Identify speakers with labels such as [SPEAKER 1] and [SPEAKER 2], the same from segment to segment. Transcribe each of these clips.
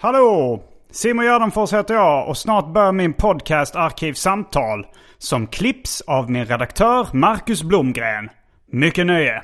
[SPEAKER 1] Hallå! Simon Gärdenfors heter jag och snart börjar min podcast Arkivsamtal som klipps av min redaktör Marcus Blomgren. Mycket nöje!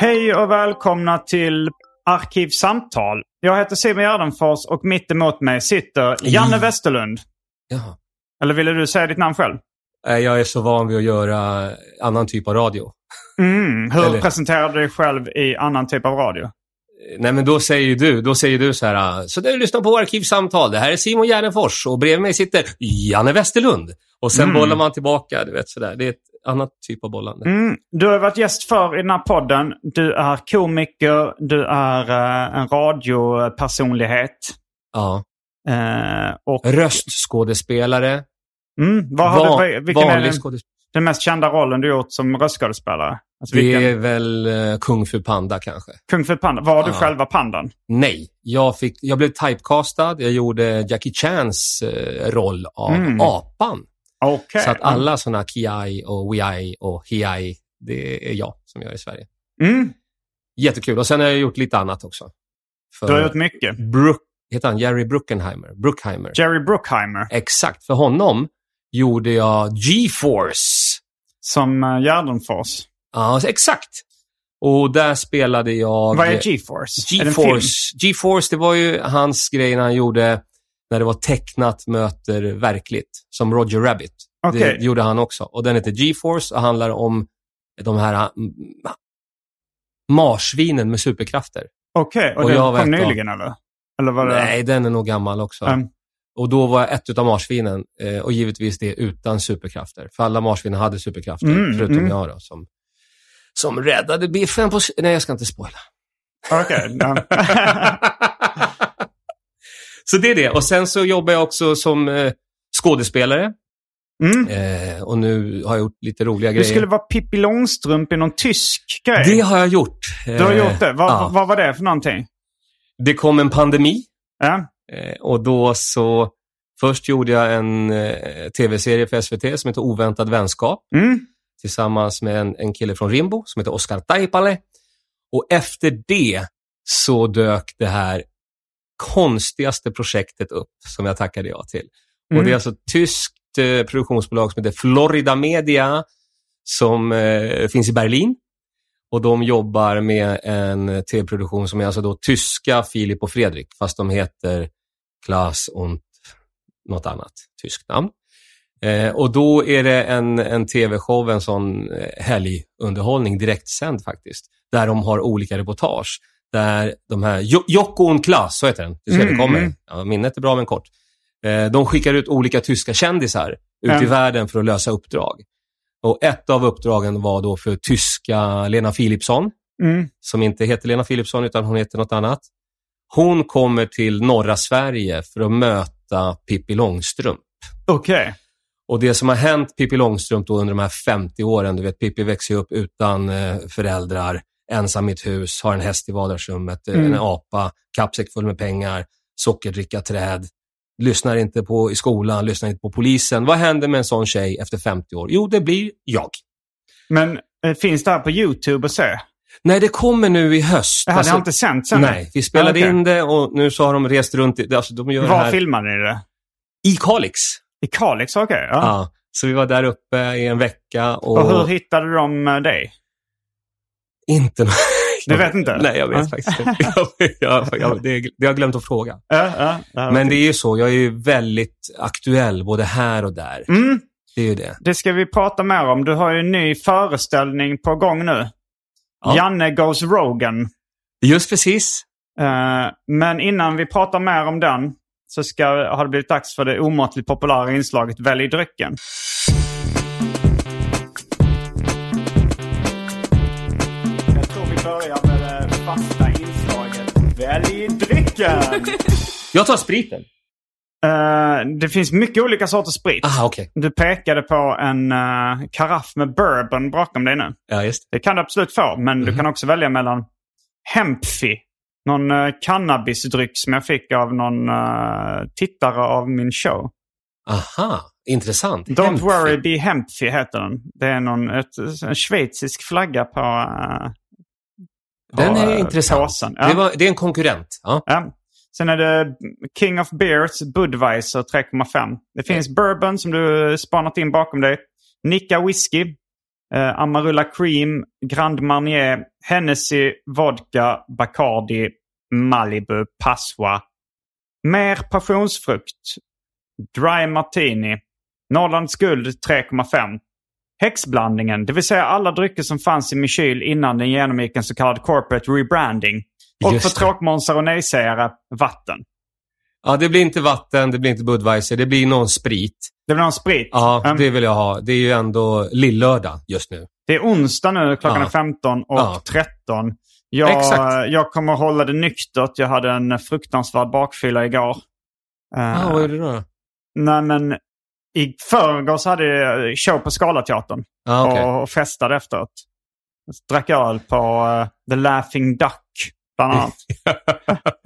[SPEAKER 1] Hej och välkomna till Arkivsamtal. Jag heter Simon Gärdenfors och mitt emot mig sitter Janne Westerlund.
[SPEAKER 2] Mm. Jaha.
[SPEAKER 1] Eller ville du säga ditt namn själv?
[SPEAKER 2] Eh, Jag är så van vid att göra annan typ av radio.
[SPEAKER 1] Mm, hur
[SPEAKER 2] Eller-
[SPEAKER 1] presenterar du dig själv i annan typ av radio?
[SPEAKER 2] Eh, Nej, men då säger ju du, då säger du så här, ah, så du lyssnar på Arkivsamtal. Det här är Simon Gärdenfors och bredvid mig sitter Janne Westerlund. Och sen bollar man tillbaka, du vet sådär. Det är ett annat typ av bollande.
[SPEAKER 1] Mm, du har varit gäst för i den här podden. Du är komiker, du är eh, en radiopersonlighet.
[SPEAKER 2] Ja.
[SPEAKER 1] Eh, och,
[SPEAKER 2] Röstskådespelare.
[SPEAKER 1] mm, vad har
[SPEAKER 2] Va-
[SPEAKER 1] du, vilken är
[SPEAKER 2] vanlig
[SPEAKER 1] den,
[SPEAKER 2] skådespelare.
[SPEAKER 1] den mest kända rollen du gjort som röstskådespelare? Alltså,
[SPEAKER 2] Det
[SPEAKER 1] vilken,
[SPEAKER 2] är väl eh, Kung Fu Panda kanske.
[SPEAKER 1] Kung Fu Panda. Var du
[SPEAKER 2] Ja.
[SPEAKER 1] själva pandan?
[SPEAKER 2] Nej, jag, fick, jag blev typecastad. Jag gjorde Jackie Chans eh, roll av
[SPEAKER 1] Mm.
[SPEAKER 2] apan.
[SPEAKER 1] Okej. Mm.
[SPEAKER 2] Så att alla sådana Kiai och Wiai och Hiai, det är jag som gör i Sverige.
[SPEAKER 1] Mm,
[SPEAKER 2] Jättekul. Och sen har jag gjort lite annat också. För
[SPEAKER 1] du har gjort mycket.
[SPEAKER 2] Brook, heter han Jerry Bruckheimer? Bruckheimer.
[SPEAKER 1] Jerry Bruckheimer
[SPEAKER 2] Exakt. För honom gjorde jag G-Force.
[SPEAKER 1] som eh, Gärdenfors.
[SPEAKER 2] Ja, exakt. Och där spelade jag...
[SPEAKER 1] Vad är G-Force? Är det en film?
[SPEAKER 2] G-Force. G-Force, det var ju hans grej när han gjorde när det var tecknat möter verkligt, som Roger Rabbit.
[SPEAKER 1] Okej.
[SPEAKER 2] Det gjorde han också. Och den heter G-Force och handlar om de här mm, marsvinen med superkrafter.
[SPEAKER 1] Okej, och,
[SPEAKER 2] Och
[SPEAKER 1] den
[SPEAKER 2] jag
[SPEAKER 1] kom
[SPEAKER 2] vet vad-
[SPEAKER 1] nyligen eller? Eller var det...
[SPEAKER 2] Nej, den är nog gammal också.
[SPEAKER 1] Mm.
[SPEAKER 2] Och då var jag ett utav marsvinen eh, och givetvis det utan superkrafter. För alla marsvin hade superkrafter,
[SPEAKER 1] Mm,
[SPEAKER 2] förutom
[SPEAKER 1] mm.
[SPEAKER 2] jag då, som, som räddade biffen på... s- Nej, jag ska inte spoila.
[SPEAKER 1] Okej. ja.
[SPEAKER 2] så det är det. Och sen så jobbar jag också som eh, skådespelare.
[SPEAKER 1] Mm.
[SPEAKER 2] Eh, och nu har jag gjort lite roliga
[SPEAKER 1] Du
[SPEAKER 2] grejer.
[SPEAKER 1] skulle vara Pippi Långstrump i någon tysk grej.
[SPEAKER 2] Det har jag gjort. Eh,
[SPEAKER 1] Du har gjort det. Vad,
[SPEAKER 2] ja.
[SPEAKER 1] vad var det för någonting?
[SPEAKER 2] Det kom en pandemi
[SPEAKER 1] Ja.
[SPEAKER 2] eh, och då så... Först gjorde jag en eh, tv-serie för SVT som heter Oväntad vänskap
[SPEAKER 1] Mm.
[SPEAKER 2] tillsammans med en, en kille från Rimbo som heter Oscar Taipale. Och efter det så dök det här konstigaste projektet upp som jag tackade ja till.
[SPEAKER 1] Mm.
[SPEAKER 2] Och det är alltså ett tyskt eh, produktionsbolag som heter Florida Media som eh, finns i Berlin. Och de jobbar med en tv-produktion som är alltså då tyska Filip och Fredrik, fast de heter Klaas und något annat tyskt namn. Eh, och då är det en, en tv-show, en sån eh, helgunderhållning, direktsänd faktiskt, där de har olika reportage. Där de här, Jo- Jocko und Klaas, så heter den, det ser det
[SPEAKER 1] Mm,
[SPEAKER 2] kommer.
[SPEAKER 1] mm.
[SPEAKER 2] Ja, minnet är bra men kort. Eh, de skickar ut olika tyska kändisar ut i
[SPEAKER 1] Mm.
[SPEAKER 2] världen för att lösa uppdrag. Och ett av uppdragen var då för tyska Lena Philipsson,
[SPEAKER 1] Mm.
[SPEAKER 2] som inte heter Lena Philipsson utan hon heter något annat. Hon kommer till norra Sverige för att möta Pippi Långstrump.
[SPEAKER 1] Okej.
[SPEAKER 2] Och det som har hänt Pippi Långstrump då under de här 50 åren, du vet Pippi växer ju upp utan eh, föräldrar, ensam i ett hus, har en häst i vardagsrummet, eh,
[SPEAKER 1] Mm.
[SPEAKER 2] en apa, kappsäck full med pengar, sockerdricka träd, lyssnar inte på i skolan, lyssnar inte på polisen. Vad händer med en sån tjej efter 50 år? Jo, det blir jag.
[SPEAKER 1] Men Eh, Finns det här på YouTube att se?
[SPEAKER 2] Nej, det kommer nu i höst. alltså-
[SPEAKER 1] Det hade jag inte sänt sen.
[SPEAKER 2] Nej, vi spelade
[SPEAKER 1] Ja, okej.
[SPEAKER 2] in det och nu så har de rest runt. i- Alltså, de gör det
[SPEAKER 1] Var
[SPEAKER 2] här
[SPEAKER 1] filmade ni det?
[SPEAKER 2] i Kalix.
[SPEAKER 1] I Kalix? Okej. ja.
[SPEAKER 2] Ja. så vi var där uppe i en vecka och,
[SPEAKER 1] Och hur hittade de eh, dig?
[SPEAKER 2] inte...
[SPEAKER 1] Du vet inte?
[SPEAKER 2] Nej, jag
[SPEAKER 1] Ja.
[SPEAKER 2] vet faktiskt inte. jag, jag, jag, det, det har jag glömt att fråga.
[SPEAKER 1] Ja, ja, ja,
[SPEAKER 2] Men det
[SPEAKER 1] okej.
[SPEAKER 2] är ju så, jag är ju väldigt aktuell både här och där.
[SPEAKER 1] Mm,
[SPEAKER 2] Det är ju det.
[SPEAKER 1] det ska vi prata mer om. Du har ju en ny föreställning på gång nu.
[SPEAKER 2] Ja.
[SPEAKER 1] Janne Goes Rogan.
[SPEAKER 2] Just precis.
[SPEAKER 1] Eh, men innan vi pratar mer om den så ska, har det blivit dags för det omåttligt populära inslaget Välj drycken. Jag tror vi börjar med det fasta inslaget Välj drycken!
[SPEAKER 2] Jag tar spriten.
[SPEAKER 1] Eh, det finns mycket olika sorters sprit.
[SPEAKER 2] Aha, okej.
[SPEAKER 1] Du pekade på en eh, karaff med bourbon bakom dig nu.
[SPEAKER 2] Ja, just
[SPEAKER 1] Det kan du absolut få, men
[SPEAKER 2] Mhm.
[SPEAKER 1] du kan också välja mellan Hempfi, någon eh, cannabisdryck som jag fick av någon eh, tittare av min show.
[SPEAKER 2] det. Aha, intressant.
[SPEAKER 1] Don't
[SPEAKER 2] Hemskt.
[SPEAKER 1] worry, be Hempfi heter den. Det är någon, ett, en schweizisk flagga på, eh,
[SPEAKER 2] Den
[SPEAKER 1] på,
[SPEAKER 2] är
[SPEAKER 1] eh,
[SPEAKER 2] intressant.
[SPEAKER 1] påsen. Ja.
[SPEAKER 2] Det, var, det är en konkurrent. Ja.
[SPEAKER 1] Ja. Sen är det King of Beers Budweiser 3,5. Det finns bourbon som du spanat in bakom dig. Nika Whisky. Eh, Amarula Cream. Grand Marnier. Hennessy. Vodka. Bacardi. Malibu. Passoa. Mer passionsfrukt. Dry Martini. Norrlands Guld 3,5. Häxblandningen, det vill säga alla drycker som fanns i min kyl innan den genomgick en så kallad corporate rebranding. Och
[SPEAKER 2] Just
[SPEAKER 1] för
[SPEAKER 2] det.
[SPEAKER 1] tråkmånsar och nejsägare, vatten.
[SPEAKER 2] ja, det blir inte vatten, det blir inte Budweiser, det blir någon sprit.
[SPEAKER 1] Det blir en sprit.
[SPEAKER 2] Ja,
[SPEAKER 1] Ehm,
[SPEAKER 2] det vill jag ha. Det är ju ändå lillördag just nu.
[SPEAKER 1] det är onsdag nu, klockan
[SPEAKER 2] Ja.
[SPEAKER 1] är 15 och
[SPEAKER 2] Ja.
[SPEAKER 1] 13. Jag,
[SPEAKER 2] Exakt.
[SPEAKER 1] jag kommer hålla det nyktert. Jag hade en fruktansvärd bakfylla igår. Ehm,
[SPEAKER 2] Ja, vad är det då?
[SPEAKER 1] Nej, men i förrgår så hade jag show på Scalateatern.
[SPEAKER 2] Ja, okej.
[SPEAKER 1] och, och festade efteråt. Drack öl på eh, The Laughing Duck bland annat.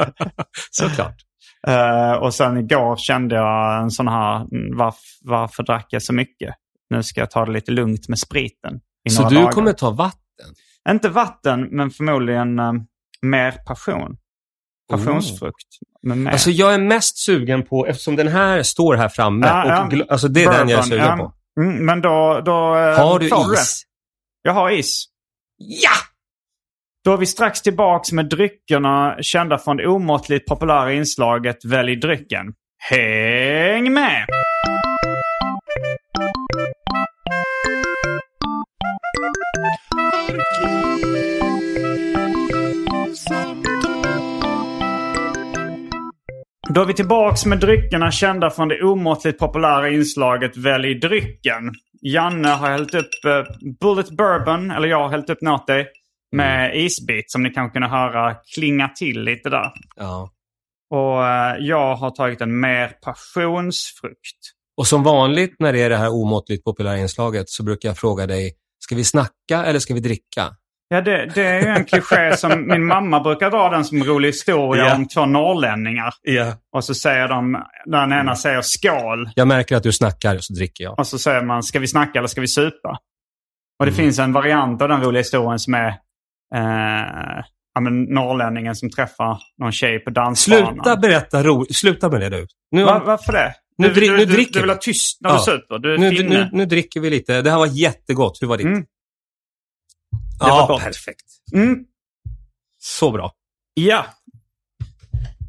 [SPEAKER 2] Såklart.
[SPEAKER 1] Eh, och sen igår kände jag en sån här, mm, varf, varför drack jag så mycket? Nu ska jag ta det lite lugnt med spriten. I
[SPEAKER 2] Så
[SPEAKER 1] några
[SPEAKER 2] du
[SPEAKER 1] dagar.
[SPEAKER 2] kommer ta vatten?
[SPEAKER 1] Inte vatten, men förmodligen eh, mer passion. Passionsfrukt. Men mer.
[SPEAKER 2] Alltså jag är mest sugen på, eftersom den här står här framme,
[SPEAKER 1] Ja,
[SPEAKER 2] och
[SPEAKER 1] ja.
[SPEAKER 2] gl- alltså det är den jag är
[SPEAKER 1] Bourbon,
[SPEAKER 2] sugen
[SPEAKER 1] ja.
[SPEAKER 2] på.
[SPEAKER 1] Mm, men då, då eh,
[SPEAKER 2] Har du
[SPEAKER 1] får det.
[SPEAKER 2] is?
[SPEAKER 1] Jag har is.
[SPEAKER 2] Ja!
[SPEAKER 1] Då är vi strax tillbaks med dryckerna kända från det omåttligt populära inslaget Välj drycken. Häng med! Då är vi tillbaks med dryckerna kända från det omåttligt populära inslaget Välj drycken. Janne har hällt upp eh, Bullet Bourbon, eller jag har hällt upp något åt dig, med
[SPEAKER 2] Mm.
[SPEAKER 1] isbit som ni kanske kunde höra klinga till lite där.
[SPEAKER 2] ja.
[SPEAKER 1] Och eh, jag har tagit en mer passionsfrukt.
[SPEAKER 2] Och som vanligt när det är det här omåttligt populära inslaget så brukar jag fråga dig, ska vi snacka eller ska vi dricka?
[SPEAKER 1] Ja, det, det är ju en kliché som min mamma brukar dra den som rolig historia
[SPEAKER 2] Ja.
[SPEAKER 1] om två norrlänningar.
[SPEAKER 2] Ja.
[SPEAKER 1] Och så säger de, den
[SPEAKER 2] Mm.
[SPEAKER 1] ena säger skål.
[SPEAKER 2] Jag märker att du snackar, så dricker jag.
[SPEAKER 1] Och så säger man, ska vi snacka eller ska vi supa? Och
[SPEAKER 2] Mm.
[SPEAKER 1] det finns en variant av den roliga historien som är eh, ja, men norrlänningen som träffar någon tjej på dansbanan.
[SPEAKER 2] Sluta berätta ro... Sluta med det du. Nu,
[SPEAKER 1] alltså. Va, varför det?
[SPEAKER 2] Nu
[SPEAKER 1] du,
[SPEAKER 2] dri-
[SPEAKER 1] du,
[SPEAKER 2] nu
[SPEAKER 1] du,
[SPEAKER 2] dricker
[SPEAKER 1] du vill
[SPEAKER 2] vi.
[SPEAKER 1] ha tyst när
[SPEAKER 2] Ja.
[SPEAKER 1] du super. Du är
[SPEAKER 2] nu,
[SPEAKER 1] finne.
[SPEAKER 2] nu, nu dricker vi lite. Det här var jättegott. Hur var ditt?
[SPEAKER 1] Mm.
[SPEAKER 2] Ja,
[SPEAKER 1] var gott.
[SPEAKER 2] perfekt.
[SPEAKER 1] Mm.
[SPEAKER 2] Så bra.
[SPEAKER 1] Ja.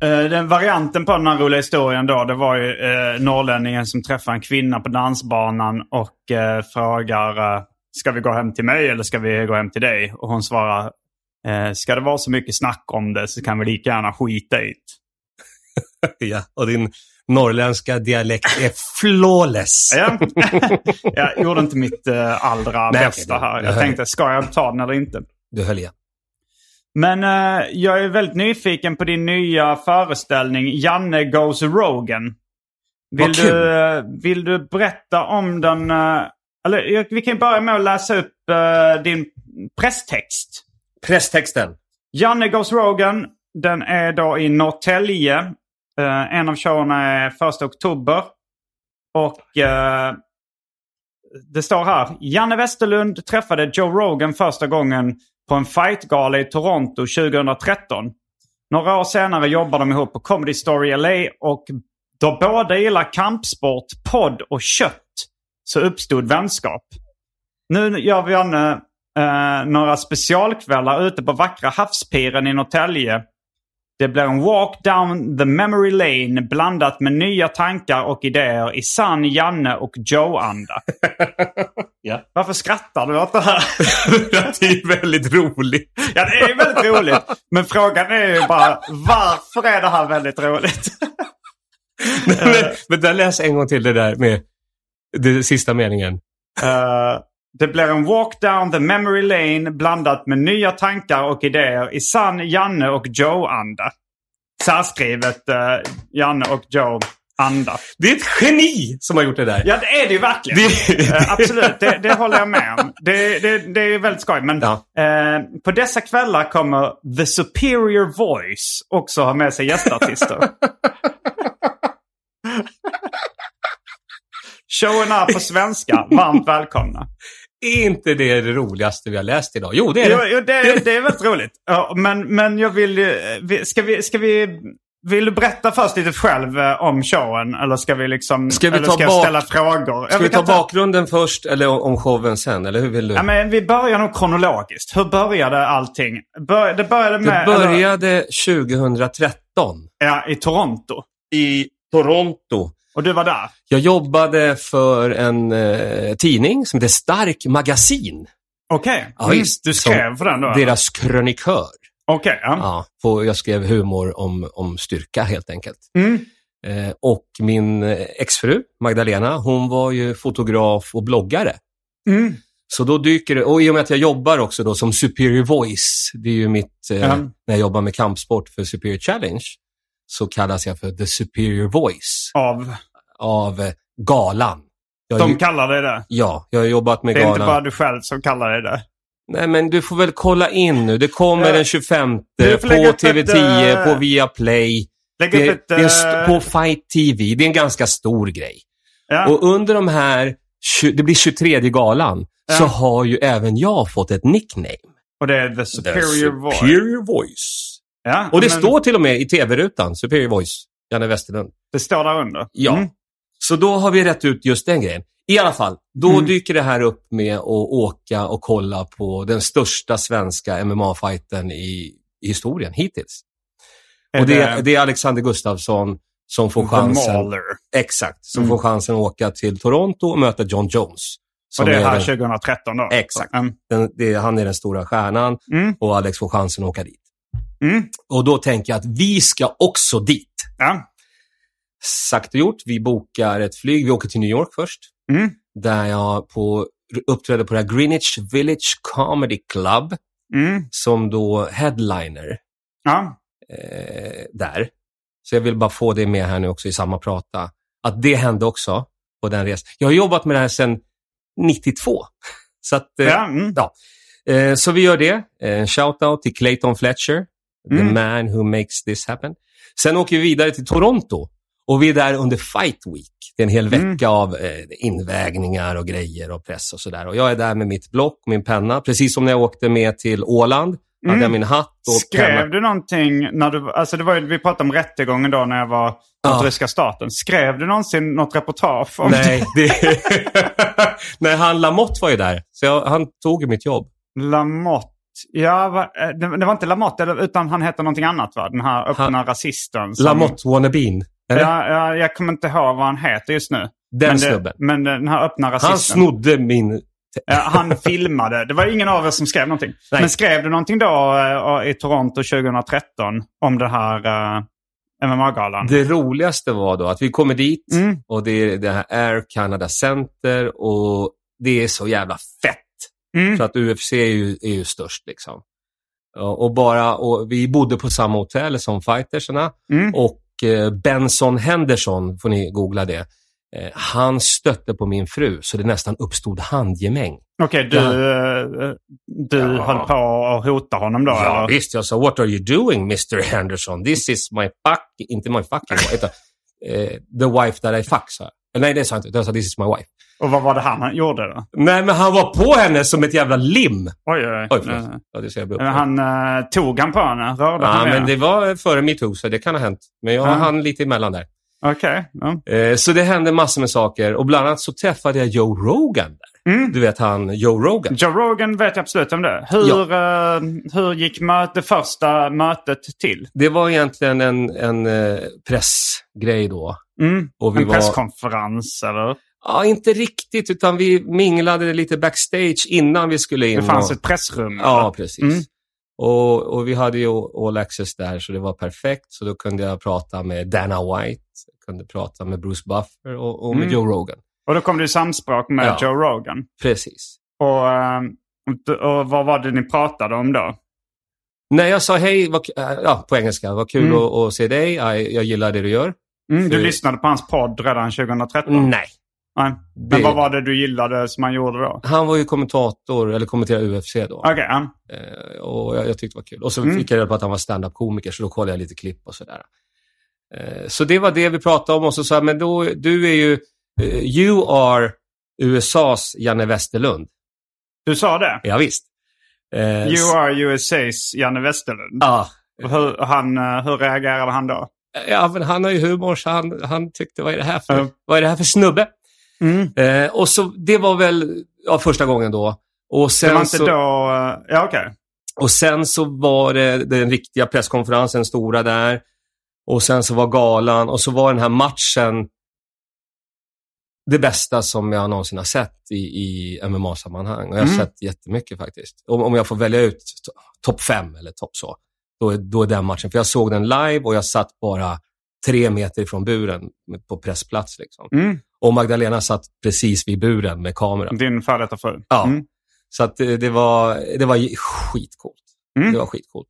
[SPEAKER 1] Eh, Den varianten på den här roliga historien då, det var ju eh, norrlänningen som träffar en kvinna på dansbanan och eh, frågar eh, Ska vi gå hem till mig eller ska vi gå hem till dig? Och hon svarar eh, Ska det vara så mycket snack om det så kan vi lika gärna skita i det.
[SPEAKER 2] Ja, och din norrländska dialekt är flawless.
[SPEAKER 1] Ja. jag gjorde inte mitt eh, allra
[SPEAKER 2] Nej,
[SPEAKER 1] bästa
[SPEAKER 2] okej, det-
[SPEAKER 1] här.
[SPEAKER 2] jag
[SPEAKER 1] Jag
[SPEAKER 2] hör
[SPEAKER 1] tänkte, ska jag ta den eller inte?
[SPEAKER 2] Du höll igen.
[SPEAKER 1] Men eh, jag är väldigt nyfiken på din nya föreställning Janne Goes Rogan. Vill,
[SPEAKER 2] Vad kul.
[SPEAKER 1] du, eh, vill du berätta om den? eh, eller jag- vi kan ju börja med att läsa upp eh, din presstext.
[SPEAKER 2] Presstexten.
[SPEAKER 1] Janne Goes Rogan, den är då i Norrtälje. Eh, en av showerna är 1 oktober. Och eh, det står här. Janne Westerlund träffade Joe Rogan första gången på en fightgala i Toronto 2013. Några år senare jobbar de ihop på Comedy Story LA och då båda gillar kampsport, podd och kött så uppstod vänskap. Nu gör vi Janne eh, några specialkvällar ute på vackra havspiren i Norrtälje. Det blir en walk down the memory lane blandat med nya tankar och idéer i sann Janne och Joe-anda.
[SPEAKER 2] Ja.
[SPEAKER 1] Varför skrattar du åt det här?
[SPEAKER 2] det är väldigt roligt.
[SPEAKER 1] Ja, det är ju väldigt roligt. Men frågan är ju bara varför är det här väldigt roligt?
[SPEAKER 2] men, men där läs en gång till det där med det sista meningen.
[SPEAKER 1] Eh, det blir en walk down the memory lane blandat med nya tankar och idéer i sann Janne och Joe-anda. Särskrivet eh, Janne och Joe-anda.
[SPEAKER 2] Det är ett geni som har gjort det där.
[SPEAKER 1] Ja, det är det ju verkligen.
[SPEAKER 2] Det-
[SPEAKER 1] Eh, absolut, det, det håller jag med om. Det, det, det är väldigt skoj. Men
[SPEAKER 2] Ja.
[SPEAKER 1] eh, på dessa kvällar kommer The Superior Voice också ha med sig gästartister. Showen är på svenska. Varmt välkomna.
[SPEAKER 2] Är inte det det roligaste vi har läst idag? Jo, det är
[SPEAKER 1] Jo,
[SPEAKER 2] det.
[SPEAKER 1] jo det, det är väldigt roligt. Ja, men, men jag vill ju... eh, vi- Ska vi... Ska vi vill du berätta först lite själv eh, om showen? Eller ska vi liksom...
[SPEAKER 2] Ska vi
[SPEAKER 1] eller
[SPEAKER 2] ta
[SPEAKER 1] ska jag
[SPEAKER 2] bak-
[SPEAKER 1] ställa frågor? Ja,
[SPEAKER 2] Ska vi
[SPEAKER 1] kan
[SPEAKER 2] ta bakgrunden först eller om showen sen? Eller hur vill du?
[SPEAKER 1] Ja, men vi börjar nog kronologiskt. Hur började allting? Bör, det började
[SPEAKER 2] Det
[SPEAKER 1] med... eller-
[SPEAKER 2] började 2013
[SPEAKER 1] ja, I Toronto.
[SPEAKER 2] i Toronto.
[SPEAKER 1] Och du var där.
[SPEAKER 2] Jag jobbade för en eh, tidning som heter Stark Magasin.
[SPEAKER 1] Okej.
[SPEAKER 2] Ja,
[SPEAKER 1] Mm.
[SPEAKER 2] visst.
[SPEAKER 1] du skrev för den då? eller?
[SPEAKER 2] Deras krönikör.
[SPEAKER 1] Okej. ja.
[SPEAKER 2] Ja, på, jag skrev humor om, om styrka helt enkelt.
[SPEAKER 1] Mm.
[SPEAKER 2] Eh, och min eh, exfru Magdalena, hon var ju fotograf och bloggare.
[SPEAKER 1] Mm.
[SPEAKER 2] Så då dyker det, och i och med att jag jobbar också då som Superior Voice, det är ju mitt, eh,
[SPEAKER 1] Ja.
[SPEAKER 2] när jag jobbar med kampsport för Superior Challenge, så kallas jag för The Superior Voice
[SPEAKER 1] Av...
[SPEAKER 2] av eh, galan. Jag,
[SPEAKER 1] De kallar dig det.
[SPEAKER 2] Ja, jag har jobbat med
[SPEAKER 1] Det är
[SPEAKER 2] galan.
[SPEAKER 1] inte bara du själv som kallar dig det.
[SPEAKER 2] Nej, men du får väl kolla in nu. Det kommer
[SPEAKER 1] Ja.
[SPEAKER 2] den 25
[SPEAKER 1] Du
[SPEAKER 2] på
[SPEAKER 1] får lägga upp ett,
[SPEAKER 2] TV10,
[SPEAKER 1] eh,
[SPEAKER 2] på Viaplay.
[SPEAKER 1] Lägg
[SPEAKER 2] Det,
[SPEAKER 1] upp ett...
[SPEAKER 2] det är en st-
[SPEAKER 1] eh,
[SPEAKER 2] på Fight TV. Det är en ganska stor grej.
[SPEAKER 1] ja.
[SPEAKER 2] Och under de här, tju- det blir 23 galan,
[SPEAKER 1] Ja.
[SPEAKER 2] så har ju även jag fått ett nickname.
[SPEAKER 1] och det är The Superior, Voice.
[SPEAKER 2] Superior Voice.
[SPEAKER 1] Ja,
[SPEAKER 2] Och det
[SPEAKER 1] men
[SPEAKER 2] står till och med i tv-rutan, Superior Voice, Janne Westerlund.
[SPEAKER 1] Det står där under.
[SPEAKER 2] Ja.
[SPEAKER 1] Mm.
[SPEAKER 2] Så då har vi rätt ut just den grejen. I alla fall, då
[SPEAKER 1] Mm.
[SPEAKER 2] dyker det här upp med att åka och kolla på den största svenska MMA-fighten i i historien hittills.
[SPEAKER 1] Är
[SPEAKER 2] Och det,
[SPEAKER 1] det-
[SPEAKER 2] är- det är Alexander Gustafsson som får
[SPEAKER 1] The
[SPEAKER 2] chansen.
[SPEAKER 1] Mauler.
[SPEAKER 2] Exakt, som
[SPEAKER 1] Mm.
[SPEAKER 2] får chansen att åka till Toronto och möta John Jones. Som
[SPEAKER 1] Och det är här
[SPEAKER 2] den-
[SPEAKER 1] 2013 då?
[SPEAKER 2] Exakt.
[SPEAKER 1] Mm.
[SPEAKER 2] den, det, han är den stora stjärnan
[SPEAKER 1] Mm.
[SPEAKER 2] och Alex får chansen att åka dit.
[SPEAKER 1] Mm.
[SPEAKER 2] Och då tänker jag att vi ska också dit.
[SPEAKER 1] Ja.
[SPEAKER 2] Sagt och gjort, vi bokar ett flyg. Vi åker till New York först.
[SPEAKER 1] Mm.
[SPEAKER 2] Där jag på, uppträdde på det här Greenwich Village Comedy Club
[SPEAKER 1] Mm.
[SPEAKER 2] som då headliner
[SPEAKER 1] Ja.
[SPEAKER 2] eh, där. Så jag vill bara få det med här nu också i samma prata. Att det hände också på den resan. Jag har jobbat med det här sedan 92. Så att, eh,
[SPEAKER 1] Ja. Mm.
[SPEAKER 2] Eh, så vi gör det. En shout-out till Clayton Fletcher, the
[SPEAKER 1] Mm.
[SPEAKER 2] man who makes this happen. Sen åker vi vidare till Toronto och vi är där under Fight Week. Det är en hel
[SPEAKER 1] Mm.
[SPEAKER 2] vecka av eh, invägningar och grejer och press och sådär. Och jag är där med mitt block, min penna, precis som när jag åkte med till Åland. Hade
[SPEAKER 1] Mm.
[SPEAKER 2] jag min hatt och
[SPEAKER 1] Skrev
[SPEAKER 2] penna.
[SPEAKER 1] du någonting när du, alltså det var ju, vi pratade om rättegången då när jag var mot
[SPEAKER 2] Ja.
[SPEAKER 1] ryska staten. Skrev du någonsin något reportage om
[SPEAKER 2] Nej, det... Nej, han Lamotte var ju där. Så jag, han tog ju mitt jobb.
[SPEAKER 1] Lamotte? Ja, va, eh, det, det var inte Lamotte eller- utan han hette någonting annat va? Den här öppna
[SPEAKER 2] Han-
[SPEAKER 1] rasisten. som-
[SPEAKER 2] Lamotte-wannabeen. eller?
[SPEAKER 1] Ja, ja, jag kommer inte ihåg vad han heter just nu.
[SPEAKER 2] Den
[SPEAKER 1] men, det,
[SPEAKER 2] snubben.
[SPEAKER 1] men den här öppna rasisten.
[SPEAKER 2] Han snodde min...
[SPEAKER 1] Ja, Eh, han filmade. Det var ingen av er som skrev någonting.
[SPEAKER 2] Nej.
[SPEAKER 1] Men skrev du någonting då eh, i Toronto 2013 om den här eh, MMA-galan?
[SPEAKER 2] Det roligaste var då att vi kommer dit.
[SPEAKER 1] Mm.
[SPEAKER 2] Och det är det här Air Canada Center och det är så jävla fett.
[SPEAKER 1] Mm.
[SPEAKER 2] Så att UFC är ju, är ju störst liksom. Ja, Och, bara, och vi bodde på samma hotell som fightersarna
[SPEAKER 1] Mm.
[SPEAKER 2] och eh, Benson Henderson, får ni googla det, eh, han stötte på min fru så det nästan uppstod handgemäng.
[SPEAKER 1] Okej, du, eh, du
[SPEAKER 2] Ja.
[SPEAKER 1] höll på och hota honom då?
[SPEAKER 2] ja,
[SPEAKER 1] eller?
[SPEAKER 2] visst, jag sa “What are you doing Mr Henderson? This is my fuck...” Eh, Inte my fucking wife, utan eh, “The wife that I fuck” sa jag. Eller Nej, det sa jag inte. utan Jag sa “This is my wife”.
[SPEAKER 1] Och vad var det han gjorde då?
[SPEAKER 2] Nej, men han var på henne som ett jävla lim.
[SPEAKER 1] Oj, oj,
[SPEAKER 2] Oj,
[SPEAKER 1] oj.
[SPEAKER 2] förlåt. Ja, det ser jag blir
[SPEAKER 1] Eh,
[SPEAKER 2] upprörd.
[SPEAKER 1] han, eh, tog han på henne? Rörde
[SPEAKER 2] Ja,
[SPEAKER 1] han
[SPEAKER 2] men
[SPEAKER 1] det...
[SPEAKER 2] det var före metoo, så det kan ha hänt. Men jag
[SPEAKER 1] Ja.
[SPEAKER 2] hann lite emellan där.
[SPEAKER 1] Okej. ja.
[SPEAKER 2] Eh, så det hände massor med saker. Och bland annat så träffade jag Joe Rogan. där.
[SPEAKER 1] Mm.
[SPEAKER 2] Du vet han Joe Rogan.
[SPEAKER 1] Joe Rogan vet jag absolut om det. Hur, eh, hur gick möte, det första mötet till?
[SPEAKER 2] Det var egentligen en, en eh, pressgrej då.
[SPEAKER 1] Mm.
[SPEAKER 2] Och vi
[SPEAKER 1] En
[SPEAKER 2] var,
[SPEAKER 1] presskonferens eller?
[SPEAKER 2] Ja, inte riktigt, utan vi minglade lite backstage innan vi skulle in.
[SPEAKER 1] Det fanns
[SPEAKER 2] och,
[SPEAKER 1] ett pressrum?
[SPEAKER 2] Ja,
[SPEAKER 1] eller?
[SPEAKER 2] precis.
[SPEAKER 1] Mm.
[SPEAKER 2] Och, och vi hade ju all access där, så det var perfekt. Så då kunde jag prata med Dana White, jag kunde prata med Bruce Buffer och, och med
[SPEAKER 1] Mm.
[SPEAKER 2] Joe Rogan.
[SPEAKER 1] Och då kom du i samspråk med
[SPEAKER 2] Ja.
[SPEAKER 1] Joe Rogan.
[SPEAKER 2] Precis.
[SPEAKER 1] Och, eh, och vad var det ni pratade om då?
[SPEAKER 2] När jag sa hej, vad, k- äh, ja, på engelska, vad kul
[SPEAKER 1] Mm.
[SPEAKER 2] att, att se dig, jag, jag gillar det du gör.
[SPEAKER 1] Mm,
[SPEAKER 2] För-
[SPEAKER 1] du lyssnade på hans podd redan 2013?
[SPEAKER 2] Nej.
[SPEAKER 1] Nej.
[SPEAKER 2] Det-
[SPEAKER 1] Men vad var det du gillade som han gjorde då?
[SPEAKER 2] Han var ju kommentator, eller kommenterade UFC då.
[SPEAKER 1] Okej, ja.
[SPEAKER 2] Eh, och jag, jag tyckte det var kul. Och så
[SPEAKER 1] Mm.
[SPEAKER 2] fick jag reda på att han var stand-up-komiker, så då kollade jag lite klipp och sådär. Eh, så det var det vi pratade om och så sa jag, men då, du är ju, eh, you are USAs Janne Westerlund.
[SPEAKER 1] du sa det?
[SPEAKER 2] Ja, visst. Eh,
[SPEAKER 1] You
[SPEAKER 2] s-
[SPEAKER 1] are USA's Janne Westerlund.
[SPEAKER 2] Ja.
[SPEAKER 1] Och Hur, han, eh, hur reagerade han då?
[SPEAKER 2] ja, men han har ju humor, så han, han tyckte, vad är det här för,
[SPEAKER 1] Ja.
[SPEAKER 2] vad är det här för snubbe?
[SPEAKER 1] Mm.
[SPEAKER 2] Eh, och så, det var väl ja, första gången då. Och
[SPEAKER 1] Det
[SPEAKER 2] sen,
[SPEAKER 1] var inte
[SPEAKER 2] så,
[SPEAKER 1] då... eh, Ja, okej.
[SPEAKER 2] och sen så var det den riktiga presskonferensen, stora där. Och sen så var galan och så var den här matchen det bästa som jag någonsin har sett i, i MMA-sammanhang. Och jag har
[SPEAKER 1] Mm.
[SPEAKER 2] sett jättemycket faktiskt. Om, om jag får välja ut to- topp fem eller topp så, då är, då är den matchen. För jag såg den live och jag satt bara tre meter ifrån buren med- på pressplats. Liksom.
[SPEAKER 1] Mm.
[SPEAKER 2] Och Magdalena satt precis vid buren med kameran.
[SPEAKER 1] Din före detta fru.
[SPEAKER 2] Ja.
[SPEAKER 1] Mm.
[SPEAKER 2] Så att eh, det var, det var skitcoolt.
[SPEAKER 1] Mm.
[SPEAKER 2] Det var skitcoolt.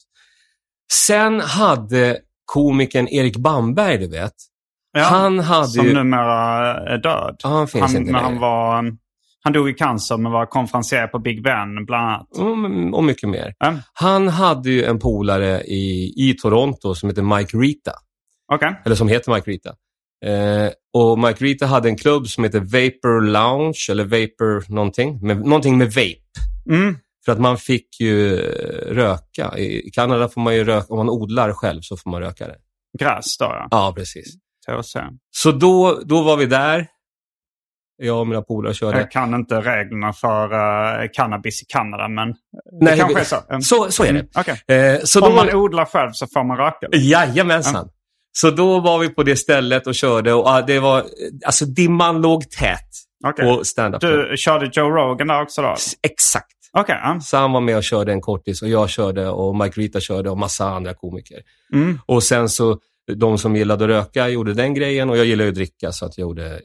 [SPEAKER 2] Sen hade komikern Erik Bamberg, du vet.
[SPEAKER 1] Ja,
[SPEAKER 2] han hade
[SPEAKER 1] som
[SPEAKER 2] ju...
[SPEAKER 1] numera är död.
[SPEAKER 2] Ja, han finns
[SPEAKER 1] han,
[SPEAKER 2] inte
[SPEAKER 1] men han,
[SPEAKER 2] längre.
[SPEAKER 1] var, eh, han dog i cancer men var konferencier på Big Ben bland annat.
[SPEAKER 2] Mm, och mycket mer.
[SPEAKER 1] Ja.
[SPEAKER 2] Han hade ju en polare i, i Toronto som heter Mike Rita.
[SPEAKER 1] Okej.
[SPEAKER 2] Eller som heter Mike Rita. Eh, och Mike Rita hade en klubb som heter Vapor Lounge, eller Vapor någonting. Med, någonting med vape.
[SPEAKER 1] Mm.
[SPEAKER 2] För att man fick ju eh, röka. I i Kanada får man ju röka, om man odlar själv så får man röka det.
[SPEAKER 1] Gräs då ja.
[SPEAKER 2] Ja, precis.
[SPEAKER 1] THC.
[SPEAKER 2] Så då, då var vi där. Jag och mina polare körde.
[SPEAKER 1] Jag kan inte reglerna för eh, cannabis i Kanada men
[SPEAKER 2] Nej,
[SPEAKER 1] det kanske är så. Mm.
[SPEAKER 2] Så, så är det.
[SPEAKER 1] Mm, okej.
[SPEAKER 2] Eh, så
[SPEAKER 1] Om
[SPEAKER 2] då,
[SPEAKER 1] man odlar själv så får man röka? eller?
[SPEAKER 2] jajamensan. Så då var vi på det stället och körde och ah, det var, alltså dimman låg tät
[SPEAKER 1] Okej.
[SPEAKER 2] på stand-up.
[SPEAKER 1] Du körde Joe Rogan där också då?
[SPEAKER 2] S- Exakt.
[SPEAKER 1] Okej. ja.
[SPEAKER 2] Så han var med och körde en kortis och jag körde och Mike Rita körde och massa andra komiker.
[SPEAKER 1] Mm.
[SPEAKER 2] Och sen så, de som gillade att röka gjorde den grejen och jag gillade ju att dricka så att jag gjorde, eh,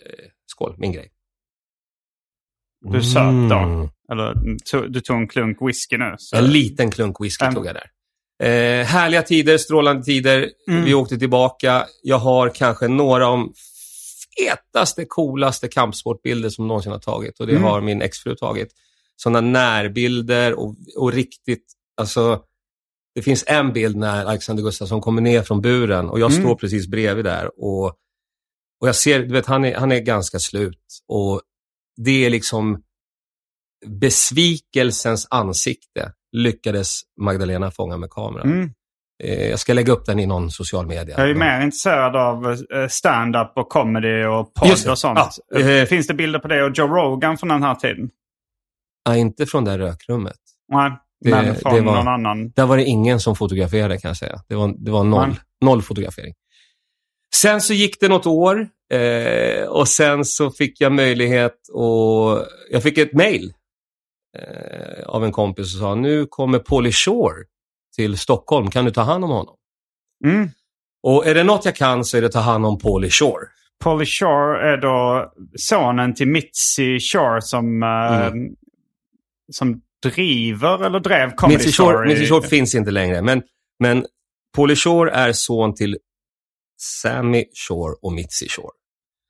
[SPEAKER 2] skål, min grej.
[SPEAKER 1] Du söp då?
[SPEAKER 2] Mm.
[SPEAKER 1] Eller mm, to- du tog en klunk whisky nu? Så.
[SPEAKER 2] En liten klunk whisky
[SPEAKER 1] Mm.
[SPEAKER 2] tog jag där. Eh, härliga tider, strålande tider.
[SPEAKER 1] Mm.
[SPEAKER 2] Vi åkte tillbaka. Jag har kanske några av de fetaste, coolaste kampsportbilder som någonsin har tagit. Och det
[SPEAKER 1] Mm.
[SPEAKER 2] har min exfru tagit. Sådana närbilder och, och riktigt, alltså. Det finns en bild när Alexander Gustafsson kommer ner från buren och jag
[SPEAKER 1] Mm.
[SPEAKER 2] står precis bredvid där. Och, och jag ser, du vet, han är, han är ganska slut. Och det är liksom besvikelsens ansikte lyckades Magdalena fånga med kameran.
[SPEAKER 1] Mm.
[SPEAKER 2] Eh, jag ska lägga upp den i någon social media.
[SPEAKER 1] Jag är ju mer intresserad av eh, stand-up och comedy och
[SPEAKER 2] Just
[SPEAKER 1] podd
[SPEAKER 2] det.
[SPEAKER 1] och sånt.
[SPEAKER 2] Ja,
[SPEAKER 1] Eh,
[SPEAKER 2] eh.
[SPEAKER 1] Finns det bilder på det och Joe Rogan från den här tiden?
[SPEAKER 2] Ja, eh, inte från det här rökrummet.
[SPEAKER 1] Nej,
[SPEAKER 2] Det-
[SPEAKER 1] men från
[SPEAKER 2] det var-
[SPEAKER 1] någon annan.
[SPEAKER 2] Där var det ingen som fotograferade kan jag säga. Det var, det var noll,
[SPEAKER 1] Nej.
[SPEAKER 2] noll fotografering. Sen så gick det något år eh, och sen så fick jag möjlighet och jag fick ett mejl eh, av en kompis som sa nu kommer Pauly Shore till Stockholm, kan du ta hand om honom?
[SPEAKER 1] Mm.
[SPEAKER 2] Och är det något jag kan så är det ta hand om Pauly Shore.
[SPEAKER 1] Polly Shore är då sonen till Mitzi Shore som, eh,
[SPEAKER 2] Mm.
[SPEAKER 1] som driver eller drev Comedy
[SPEAKER 2] Mitzi Shore,
[SPEAKER 1] Shore. i-
[SPEAKER 2] Mitzi Shore finns inte längre, men, men Pauly Shore är son till Sammy Shore och Mitzi Shore.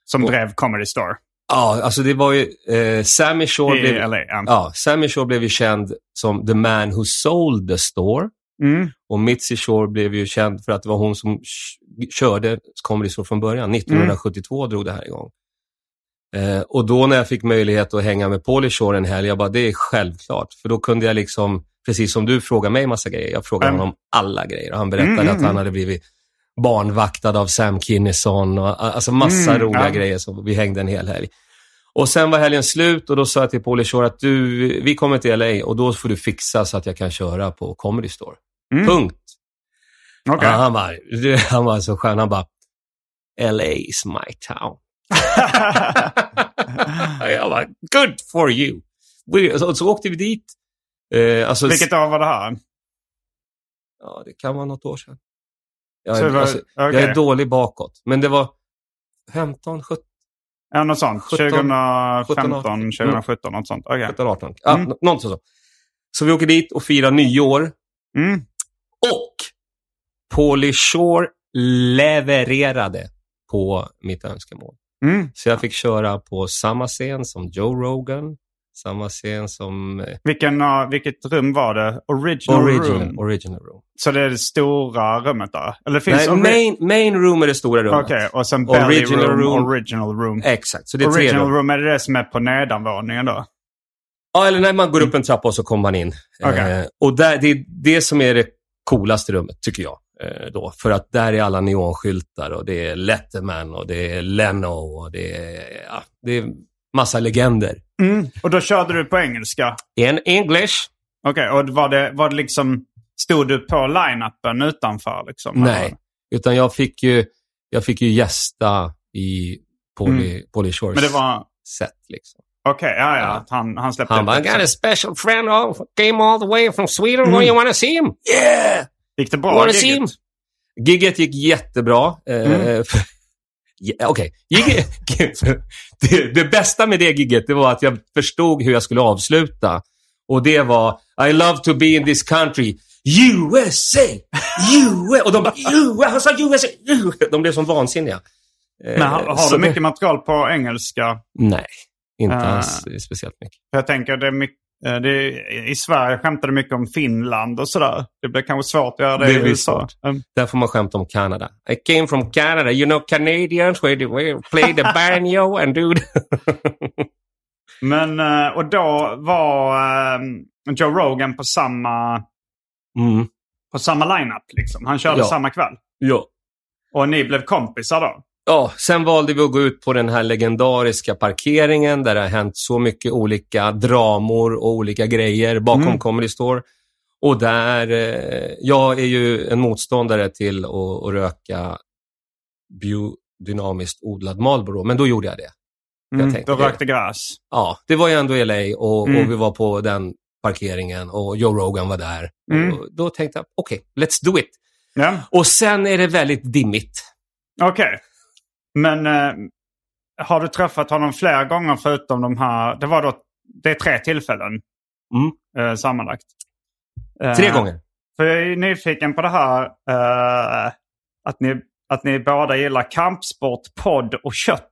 [SPEAKER 1] Som drev Comedy Store
[SPEAKER 2] Ja, alltså det var ju... Eh, Sammy Shore
[SPEAKER 1] i
[SPEAKER 2] blev...
[SPEAKER 1] LA. ja.
[SPEAKER 2] Ja, Sammy Shore blev ju känd som the man who sold the store.
[SPEAKER 1] Mm.
[SPEAKER 2] Och Mitzi Shore blev ju känd för att det var
[SPEAKER 1] Mm.
[SPEAKER 2] hon som k- körde Comedy Store från början. 1972 drog det här igång. Eh, och då när jag fick möjlighet att hänga med Pauly Shore en helg, jag bara, det är självklart. För då kunde jag liksom, precis som du frågar mig massa grejer, jag frågade
[SPEAKER 1] Mm.
[SPEAKER 2] honom alla grejer. Och han berättade
[SPEAKER 1] Mm, mm,
[SPEAKER 2] att han hade blivit barnvaktad av Sam Kinison och a- alltså massa
[SPEAKER 1] Mm,
[SPEAKER 2] roliga
[SPEAKER 1] ja.
[SPEAKER 2] grejer. som vi hängde en hel helg. Och sen var helgen slut och då sa jag till Pauly Shore att du, vi kommer till LA och då får du fixa så att jag kan köra på Comedy Store.
[SPEAKER 1] Mm.
[SPEAKER 2] Punkt.
[SPEAKER 1] Okej.
[SPEAKER 2] Ja, han, var, han var så skön. Han bara, LA is my town. jag bara, good for you. We- Så, så åkte vi dit. Eh, alltså,
[SPEAKER 1] Vilket år var det här?
[SPEAKER 2] Ja, det kan vara något år sedan. Jag,
[SPEAKER 1] Så
[SPEAKER 2] är,
[SPEAKER 1] det var-
[SPEAKER 2] alltså,
[SPEAKER 1] okej.
[SPEAKER 2] jag är dålig bakåt, men det var 15, 17,
[SPEAKER 1] Ja, något sånt.
[SPEAKER 2] 17,
[SPEAKER 1] 2015, 2017, något sånt. Okej.
[SPEAKER 2] 17 18. Ja,
[SPEAKER 1] Mm.
[SPEAKER 2] nå- Något sånt. Så vi åker dit och firar nyår.
[SPEAKER 1] Mm.
[SPEAKER 2] Och Pauly Shore levererade på mitt önskemål.
[SPEAKER 1] Mm.
[SPEAKER 2] Så jag fick köra på samma scen som Joe Rogan, samma scen som eh,
[SPEAKER 1] Vilken, uh, vilket rum var det? Original,
[SPEAKER 2] original,
[SPEAKER 1] room.
[SPEAKER 2] original room.
[SPEAKER 1] Så det är det stora rummet där? Eller finns
[SPEAKER 2] Nej,
[SPEAKER 1] ori-
[SPEAKER 2] main, main room är det stora rummet.
[SPEAKER 1] Okej, och sen belly
[SPEAKER 2] Original
[SPEAKER 1] room,
[SPEAKER 2] room.
[SPEAKER 1] original room.
[SPEAKER 2] Exakt, så det är tre
[SPEAKER 1] original
[SPEAKER 2] rum.
[SPEAKER 1] room, är det det som är på nedanvåningen då?
[SPEAKER 2] Ja, eller när man går upp en trappa och så kommer man in.
[SPEAKER 1] Mm. Okej.
[SPEAKER 2] Eh, och där, det är det som är det coolaste rummet, tycker jag. Eh, då. För att där är alla neonskyltar och det är Letterman och det är Leno och det är, ja, det är massa legender.
[SPEAKER 1] Mm. Och då körde du på engelska?
[SPEAKER 2] In English?
[SPEAKER 1] Okej, och var det, var det liksom... Stod du på line-upen utanför? Liksom,
[SPEAKER 2] Nej, utan jag fick ju, jag fick ju gästa i Pauly Pauly Shores
[SPEAKER 1] Mm. Men det var...
[SPEAKER 2] set. Liksom.
[SPEAKER 1] Okej, ja, ja.
[SPEAKER 2] Ja.
[SPEAKER 1] att Han, han släppte
[SPEAKER 2] Han
[SPEAKER 1] ut
[SPEAKER 2] bara, I
[SPEAKER 1] det.
[SPEAKER 2] got a special friend all, came all the way from Sweden. Mm. You wanna see him? Yeah!
[SPEAKER 1] Gick det
[SPEAKER 2] You
[SPEAKER 1] bra?
[SPEAKER 2] wanna see
[SPEAKER 1] giget?
[SPEAKER 2] him? Gigget gick jättebra. Eh,
[SPEAKER 1] Mm.
[SPEAKER 2] ja, Okej. Gigget- det, det bästa med det gigget det var att jag förstod hur jag skulle avsluta. Och det var I love to be in this country. USA! USA! Och de bara USA! Han sa USA! De blev som vansinniga. Eh,
[SPEAKER 1] Men har, har
[SPEAKER 2] så
[SPEAKER 1] du
[SPEAKER 2] det-
[SPEAKER 1] mycket material på engelska?
[SPEAKER 2] Nej, inte
[SPEAKER 1] Ah.
[SPEAKER 2] alls speciellt mycket.
[SPEAKER 1] För jag tänker, det är mycket, eh, det är, i Sverige skämtade mycket om Finland och sådär. Det blir kanske svårt att göra det,
[SPEAKER 2] Det
[SPEAKER 1] i
[SPEAKER 2] blir
[SPEAKER 1] USA.
[SPEAKER 2] svårt.
[SPEAKER 1] Mm.
[SPEAKER 2] Där får man skämta om Kanada. I came from Canada. You know Canadians where they where play the banjo and do... the-
[SPEAKER 1] Men, eh, och då var eh, Joe Rogan på samma,
[SPEAKER 2] Mm.
[SPEAKER 1] på samma line-up. Liksom. Han körde
[SPEAKER 2] Ja.
[SPEAKER 1] samma kväll.
[SPEAKER 2] Ja.
[SPEAKER 1] Och ni blev kompisar då?
[SPEAKER 2] ja. Sen valde vi att gå ut på den här legendariska parkeringen där det har hänt så mycket olika dramor och olika grejer bakom
[SPEAKER 1] Mm.
[SPEAKER 2] Comedy Store. Och där... Eh, jag är ju en motståndare till att, att röka biodynamiskt odlad Marlboro, men då gjorde jag det.
[SPEAKER 1] Mm,
[SPEAKER 2] tänkte
[SPEAKER 1] då
[SPEAKER 2] det.
[SPEAKER 1] rökte gräs.
[SPEAKER 2] ja, det var ju ändå LA och,
[SPEAKER 1] Mm.
[SPEAKER 2] och vi var på den parkeringen och Joe Rogan var där.
[SPEAKER 1] Mm.
[SPEAKER 2] Och då tänkte jag, okej, let's do it.
[SPEAKER 1] Ja,
[SPEAKER 2] Och sen är det väldigt dimmigt.
[SPEAKER 1] okej. Men eh, har du träffat honom flera gånger förutom de här? Det var då, det är tre tillfällen eh, sammanlagt. Eh,
[SPEAKER 2] Mm. Tre gånger.
[SPEAKER 1] För jag är nyfiken på det här eh, att, ni, att ni båda gillar kampsport, podd och kött.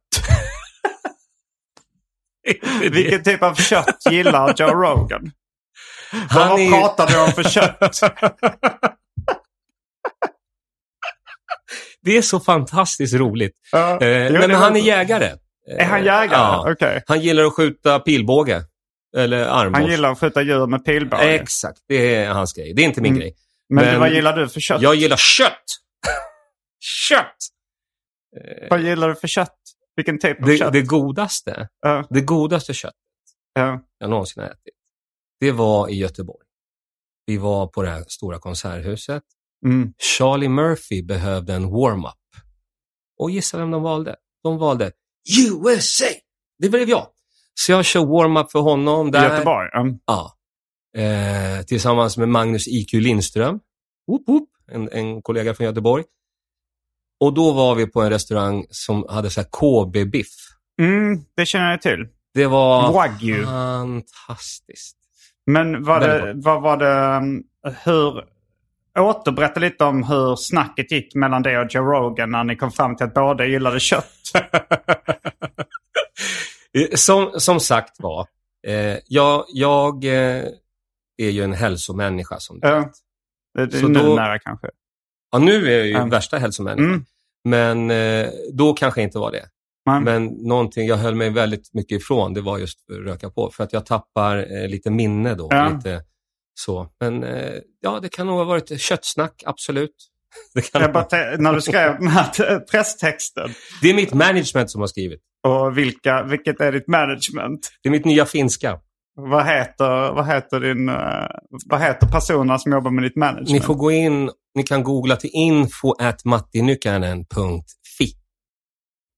[SPEAKER 1] Vilken typ av kött gillar Joe Rogan? Vad
[SPEAKER 2] Han är-
[SPEAKER 1] pratar du om för kött?
[SPEAKER 2] Det är så fantastiskt roligt.
[SPEAKER 1] Ja,
[SPEAKER 2] Eh,
[SPEAKER 1] jo,
[SPEAKER 2] nej,
[SPEAKER 1] det
[SPEAKER 2] men han är
[SPEAKER 1] låter-
[SPEAKER 2] jägare.
[SPEAKER 1] Är
[SPEAKER 2] Eh,
[SPEAKER 1] han jägare?
[SPEAKER 2] Ja.
[SPEAKER 1] Okej.
[SPEAKER 2] Han gillar att skjuta pilbåge. Eller armborst.
[SPEAKER 1] Han gillar att skjuta djur med pilbåge.
[SPEAKER 2] Exakt, det är hans grej. Det är inte min
[SPEAKER 1] Mm.
[SPEAKER 2] grej.
[SPEAKER 1] men,
[SPEAKER 2] men-
[SPEAKER 1] vad gillar du för kött?
[SPEAKER 2] Jag gillar kött! kött!
[SPEAKER 1] Vad gillar du för kött? Vilken typ av
[SPEAKER 2] Det,
[SPEAKER 1] kött?
[SPEAKER 2] det godaste.
[SPEAKER 1] Ja.
[SPEAKER 2] Det godaste kött.
[SPEAKER 1] Ja.
[SPEAKER 2] jag någonsin har ätit. Det var i Göteborg. Vi var på det här stora konserthuset.
[SPEAKER 1] Mm.
[SPEAKER 2] Charlie Murphy behövde en warm-up. Och gissa vem de valde? De valde USA! Det blev jag. Så jag kör warm-up för honom
[SPEAKER 1] I
[SPEAKER 2] där.
[SPEAKER 1] Göteborg? Ja.
[SPEAKER 2] Ja. Eh, tillsammans med Magnus IQ Lindström. Whoop, whoop. En, en kollega från Göteborg. Och då var vi på en restaurang som hade så här KB-biff.
[SPEAKER 1] Mm, det känner jag till.
[SPEAKER 2] Det var
[SPEAKER 1] Wagyu.
[SPEAKER 2] fantastiskt.
[SPEAKER 1] Men var det,
[SPEAKER 2] Väldigt
[SPEAKER 1] vad var det, um, hur, återberätta lite om hur snacket gick mellan dig och Joe Rogan när ni kom fram till att båda gillade kött.
[SPEAKER 2] Eh, som, som sagt var, eh, jag, jag eh, är ju en hälsomänniska. Som du.
[SPEAKER 1] Ja. Eh, Det, det,
[SPEAKER 2] Så
[SPEAKER 1] nu
[SPEAKER 2] då-
[SPEAKER 1] nära kanske.
[SPEAKER 2] Ja, nu är jag ju
[SPEAKER 1] Mm.
[SPEAKER 2] värsta hälsomänniskan,
[SPEAKER 1] Mm.
[SPEAKER 2] men eh, då kanske jag inte var det.
[SPEAKER 1] Man,
[SPEAKER 2] Men någonting jag höll mig väldigt mycket ifrån, det var just röka på. För att jag tappar eh, lite minne då.
[SPEAKER 1] Ja.
[SPEAKER 2] Lite så. Men eh, ja, det kan nog ha varit köttsnack, absolut. Det, kan
[SPEAKER 1] jag bara
[SPEAKER 2] ha,
[SPEAKER 1] te- när du skrev den här te- presstexten.
[SPEAKER 2] det är mitt management som har skrivit.
[SPEAKER 1] Och vilka, vilket är ditt management?
[SPEAKER 2] Det är mitt nya finska.
[SPEAKER 1] Vad heter, vad heter, din, eh, vad heter personerna som jobbar med ditt
[SPEAKER 2] Ni
[SPEAKER 1] management?
[SPEAKER 2] får gå in, ni kan googla till info at mattinykänen.fi.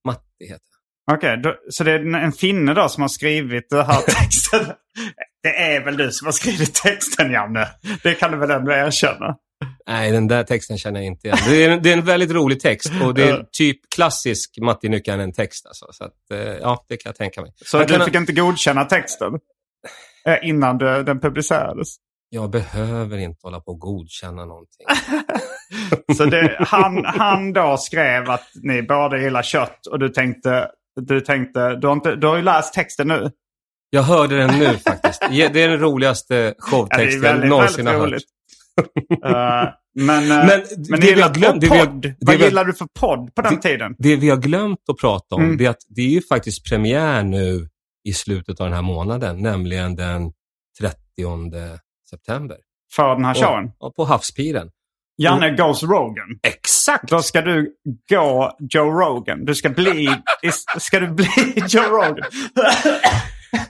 [SPEAKER 2] Matti heter
[SPEAKER 1] Okej, då- så det är en- en finne då som har skrivit den här texten? det är väl du som har skrivit texten, Janne? Det kan du väl ändå erkänna?
[SPEAKER 2] Nej, den där texten känner jag inte igen. Det är, en- det är en väldigt rolig text och det är typ klassisk Matti Nykänen-text. Alltså. Så att, eh, ja, det kan jag tänka mig.
[SPEAKER 1] Så
[SPEAKER 2] Man
[SPEAKER 1] du
[SPEAKER 2] kan ha-
[SPEAKER 1] fick inte godkänna texten eh, innan du, den publicerades?
[SPEAKER 2] Jag behöver inte hålla på och godkänna någonting.
[SPEAKER 1] Så det, han, han då skrev att ni båda gillar kött och du tänkte, du tänkte, du har, inte, du har ju läst texten nu.
[SPEAKER 2] Jag hörde den nu faktiskt. Ja, Det är den roligaste
[SPEAKER 1] Ja,
[SPEAKER 2] showtexten jag någonsin har hört.
[SPEAKER 1] Eh, men, eh,
[SPEAKER 2] Men
[SPEAKER 1] men
[SPEAKER 2] det
[SPEAKER 1] ni
[SPEAKER 2] vi har
[SPEAKER 1] gillar
[SPEAKER 2] glömt- det
[SPEAKER 1] på
[SPEAKER 2] vi har-
[SPEAKER 1] podd.
[SPEAKER 2] det
[SPEAKER 1] Vad
[SPEAKER 2] vi har-
[SPEAKER 1] gillar du för podd på den
[SPEAKER 2] Det-
[SPEAKER 1] tiden?
[SPEAKER 2] Det vi har glömt att prata om,
[SPEAKER 1] Mm.
[SPEAKER 2] det är att det är ju faktiskt premiär nu i slutet av den här månaden, nämligen den 30 september.
[SPEAKER 1] För den här showen?
[SPEAKER 2] Och, och på Havspiren.
[SPEAKER 1] Janne Goes Rogan.
[SPEAKER 2] Exakt!
[SPEAKER 1] Då ska du gå Joe Rogan. Du ska bli, is- ska du bli Joe Rogan?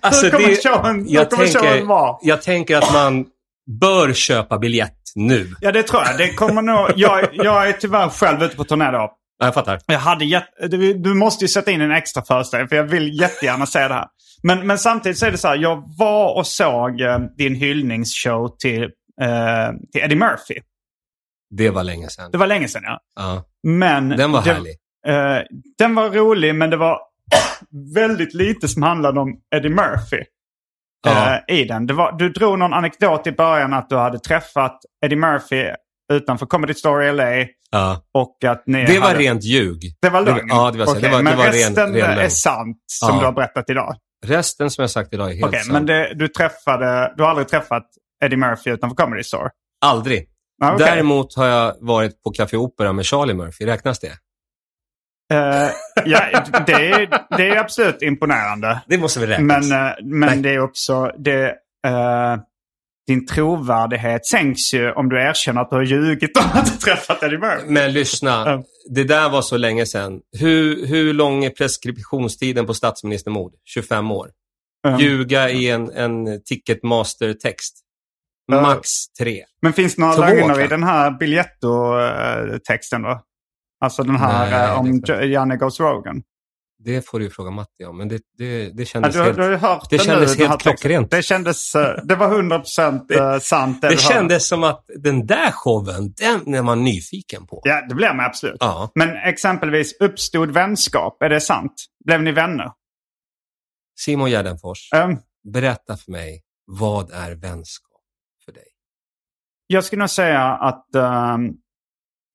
[SPEAKER 2] Alltså,
[SPEAKER 1] hur kommer
[SPEAKER 2] det-
[SPEAKER 1] showen, hur
[SPEAKER 2] jag,
[SPEAKER 1] kommer showen
[SPEAKER 2] tänker,
[SPEAKER 1] vara?
[SPEAKER 2] jag tänker att man bör köpa biljett nu.
[SPEAKER 1] Ja, det tror jag. Det kommer nog, jag, jag är tyvärr själv ute på turné då.
[SPEAKER 2] Ja, Jag fattar.
[SPEAKER 1] Jag hade jätt... du, du måste ju sätta in en extra föreställning för jag vill jättegärna säga det här. Men, men samtidigt så är det så här, jag var och såg eh, din hyllningsshow till, eh, till Eddie Murphy.
[SPEAKER 2] Det var länge sedan.
[SPEAKER 1] Det var länge sedan ja.
[SPEAKER 2] Ja,
[SPEAKER 1] Men
[SPEAKER 2] den var
[SPEAKER 1] det-
[SPEAKER 2] härlig.
[SPEAKER 1] eh, den var rolig men det var väldigt lite som handlade om Eddie Murphy. eh,
[SPEAKER 2] Ja.
[SPEAKER 1] I den. Det var, du drog någon anekdot i början att du hade träffat Eddie Murphy utanför Comedy Story LA.
[SPEAKER 2] Ja.
[SPEAKER 1] Och att ni
[SPEAKER 2] Det var
[SPEAKER 1] hade...
[SPEAKER 2] rent ljug.
[SPEAKER 1] Det var lögn?
[SPEAKER 2] Ja, det var så.
[SPEAKER 1] Okej,
[SPEAKER 2] Det var- det
[SPEAKER 1] men
[SPEAKER 2] var ren-
[SPEAKER 1] resten
[SPEAKER 2] ren
[SPEAKER 1] är
[SPEAKER 2] lögn.
[SPEAKER 1] sant som
[SPEAKER 2] Ja.
[SPEAKER 1] du har berättat idag?
[SPEAKER 2] Resten som jag sagt idag är helt
[SPEAKER 1] Okej,
[SPEAKER 2] sant.
[SPEAKER 1] men det, du träffade, du har aldrig träffat Eddie Murphy utanför Comedy Store?
[SPEAKER 2] Aldrig.
[SPEAKER 1] Ja, okej.
[SPEAKER 2] Däremot har jag varit på Café Opera med Charlie Murphy. Räknas det?
[SPEAKER 1] Eh, ja, det, är, det är absolut imponerande.
[SPEAKER 2] Det måste väl räknas?
[SPEAKER 1] Men, eh, men det är också, det, eh, din trovärdighet sänks ju om du erkänner att du har ljugit om att du träffat Eddie Murphy.
[SPEAKER 2] Men lyssna,
[SPEAKER 1] Ja.
[SPEAKER 2] det där var så länge sedan. Hur, hur lång är preskriptionstiden på statsministermord? 25 år.
[SPEAKER 1] Eh,
[SPEAKER 2] Ljuga i en, en Ticketmaster-text. Max tre.
[SPEAKER 1] men finns det några
[SPEAKER 2] Två,
[SPEAKER 1] lögner i
[SPEAKER 2] kanske.
[SPEAKER 1] den här Biletto-texten då? Alltså den här
[SPEAKER 2] Nej,
[SPEAKER 1] eh, om
[SPEAKER 2] det tror
[SPEAKER 1] Jo- Janne Goes Rogan?
[SPEAKER 2] Det får du ju fråga Matti om, men det, det, det
[SPEAKER 1] Ja,
[SPEAKER 2] kändes
[SPEAKER 1] du,
[SPEAKER 2] helt...
[SPEAKER 1] du har ju hört
[SPEAKER 2] det
[SPEAKER 1] den
[SPEAKER 2] kändes
[SPEAKER 1] nu, den här
[SPEAKER 2] helt
[SPEAKER 1] texten.
[SPEAKER 2] klockrent.
[SPEAKER 1] Det kändes, eh, det var 100 procent eh, sant.
[SPEAKER 2] Det
[SPEAKER 1] du hörde.
[SPEAKER 2] kändes som att den där showen, den är man nyfiken på.
[SPEAKER 1] Ja, det blev man absolut.
[SPEAKER 2] Ja.
[SPEAKER 1] Men exempelvis uppstod vänskap, är det sant? Blev ni vänner?
[SPEAKER 2] Simon Gärdenfors,
[SPEAKER 1] Ehm,
[SPEAKER 2] berätta för mig, vad är vänskap för dig?
[SPEAKER 1] jag skulle nog säga att ehm,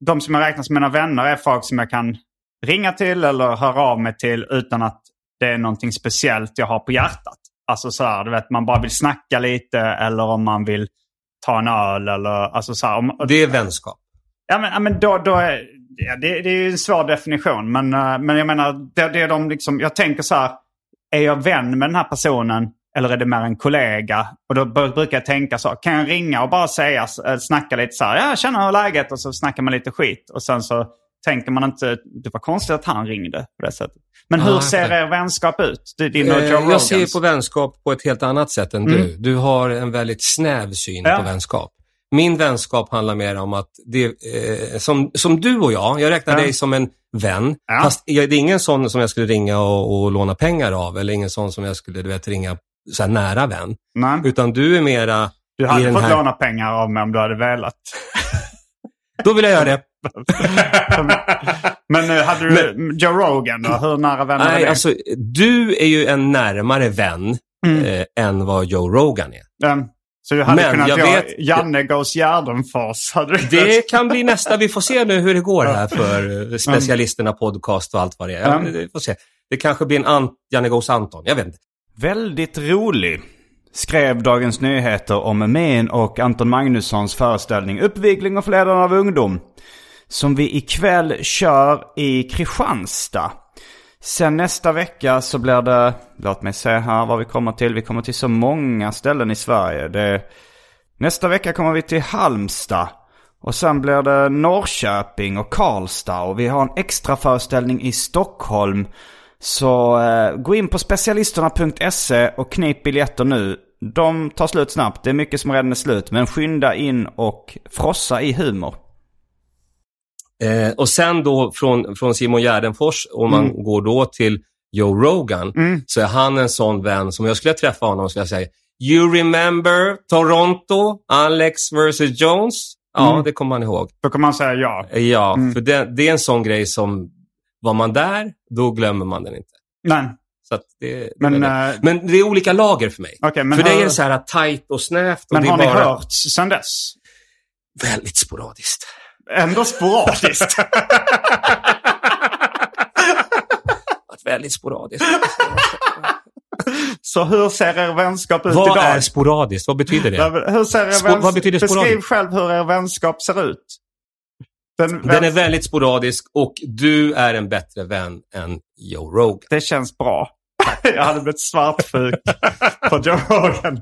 [SPEAKER 1] de som jag räknar som mina vänner är folk som jag kan ringa till eller höra av mig till utan att det är någonting speciellt jag har på hjärtat. Alltså så här, du vet, man bara vill snacka lite eller om man vill ta en öl eller alltså så här, om,
[SPEAKER 2] Det är vänskap.
[SPEAKER 1] Ja, men, ja, men då, då är, ja, det, det är ju en svår definition. Men, eh, men jag menar, det, det är de liksom, jag tänker så här, är jag vän med den här personen eller är det mer en kollega? Och då br- brukar jag tänka så, här, kan jag ringa och bara säga, s- eh, snacka lite så här, ja, känner hur är läget? Och så snackar man lite skit. Och sen så tänker man inte, det var konstigt att han ringde på det sättet. Men
[SPEAKER 2] Ja,
[SPEAKER 1] hur
[SPEAKER 2] jag
[SPEAKER 1] ser
[SPEAKER 2] fattar.
[SPEAKER 1] er vänskap ut? D- Din och Joe
[SPEAKER 2] Eh, jag
[SPEAKER 1] Rogans? Mm.
[SPEAKER 2] ser ju på vänskap på ett helt annat sätt än du. Du har en väldigt snäv syn
[SPEAKER 1] Ja.
[SPEAKER 2] på vänskap. Min vänskap handlar mer om att, det, eh, som, som du och jag, jag räknar
[SPEAKER 1] Ja.
[SPEAKER 2] dig som en vän.
[SPEAKER 1] Ja.
[SPEAKER 2] Fast jag, det är ingen sån som jag skulle ringa och, och låna pengar av eller ingen sån som jag skulle du vet, ringa så här nära vän.
[SPEAKER 1] Nej,
[SPEAKER 2] Utan du är mera...
[SPEAKER 1] du
[SPEAKER 2] i
[SPEAKER 1] hade
[SPEAKER 2] den
[SPEAKER 1] fått
[SPEAKER 2] här-
[SPEAKER 1] låna pengar av mig om du hade velat.
[SPEAKER 2] Då vill jag göra det.
[SPEAKER 1] Men eh, hade du Joe Rogan då? Hur nära vänner är
[SPEAKER 2] Nej,
[SPEAKER 1] det?
[SPEAKER 2] alltså, du är ju en närmare vän
[SPEAKER 1] Mm.
[SPEAKER 2] eh, än vad Joe Rogan är.
[SPEAKER 1] Den. Så du hade
[SPEAKER 2] Men
[SPEAKER 1] kunnat
[SPEAKER 2] jag
[SPEAKER 1] göra
[SPEAKER 2] vet-
[SPEAKER 1] Janne Goes Gärdenfors. Hade du
[SPEAKER 2] Det kan bli nästa. Vi får se nu hur det går här för eh, specialisterna, podcast och allt vad det är. Ja,
[SPEAKER 1] Mm.
[SPEAKER 2] vi får se. Det kanske blir en Ant- Janne Goes Anton. Jag vet inte.
[SPEAKER 3] Väldigt rolig, skrev Dagens Nyheter om min och Anton Magnussons föreställning Uppvigling och förledande av ungdom. Som vi ikväll kör i Kristianstad. Sen nästa vecka så blir det, låt mig se här vad vi kommer till. Vi kommer till så många ställen i Sverige. Det, nästa vecka kommer vi till Halmstad. Och sen blir det Norrköping och Karlstad. Och vi har en extra föreställning i Stockholm. Så eh, gå in på specialisterna.se E och knip biljetter nu. De tar slut snabbt. Det är mycket som redan är slut. Men skynda in och frossa i humor.
[SPEAKER 2] Eh, och sen då från, från Simon Gärdenfors, om man
[SPEAKER 1] Mm.
[SPEAKER 2] går då till Joe Rogan, så är han en sån vän som jag skulle träffa honom skulle jag säga, You remember Toronto, Alex vs Jones? Ja,
[SPEAKER 1] Mm.
[SPEAKER 2] det kommer han ihåg.
[SPEAKER 1] Då kan man säga ja.
[SPEAKER 2] Eh, Ja,
[SPEAKER 1] Mm.
[SPEAKER 2] för det, det är en sån grej som, var man där, då glömmer man den inte.
[SPEAKER 1] Nej,
[SPEAKER 2] Så att det, det
[SPEAKER 1] men,
[SPEAKER 2] men,
[SPEAKER 1] eh,
[SPEAKER 2] men det är olika lager för mig.
[SPEAKER 1] Okej, men
[SPEAKER 2] för
[SPEAKER 1] har-
[SPEAKER 2] dig är det så här tight och snävt. Och
[SPEAKER 1] men
[SPEAKER 2] det är
[SPEAKER 1] har ni
[SPEAKER 2] bara
[SPEAKER 1] hört sen dess?
[SPEAKER 2] Väldigt sporadiskt.
[SPEAKER 1] Ändå sporadiskt.
[SPEAKER 2] Väldigt sporadiskt.
[SPEAKER 1] så hur ser er vänskap ut
[SPEAKER 2] Vad
[SPEAKER 1] idag?
[SPEAKER 2] är sporadiskt? Vad betyder det?
[SPEAKER 1] Hur ser er
[SPEAKER 2] Spo-
[SPEAKER 1] vänskap...
[SPEAKER 2] vad betyder
[SPEAKER 1] Beskriv
[SPEAKER 2] sporadiskt?
[SPEAKER 1] själv hur er vänskap ser ut. Den,
[SPEAKER 2] Den är väldigt sporadisk och du är en bättre vän än Joe Rogan.
[SPEAKER 1] Det känns bra. Jag hade blivit svartsjuk på Joe Rogan.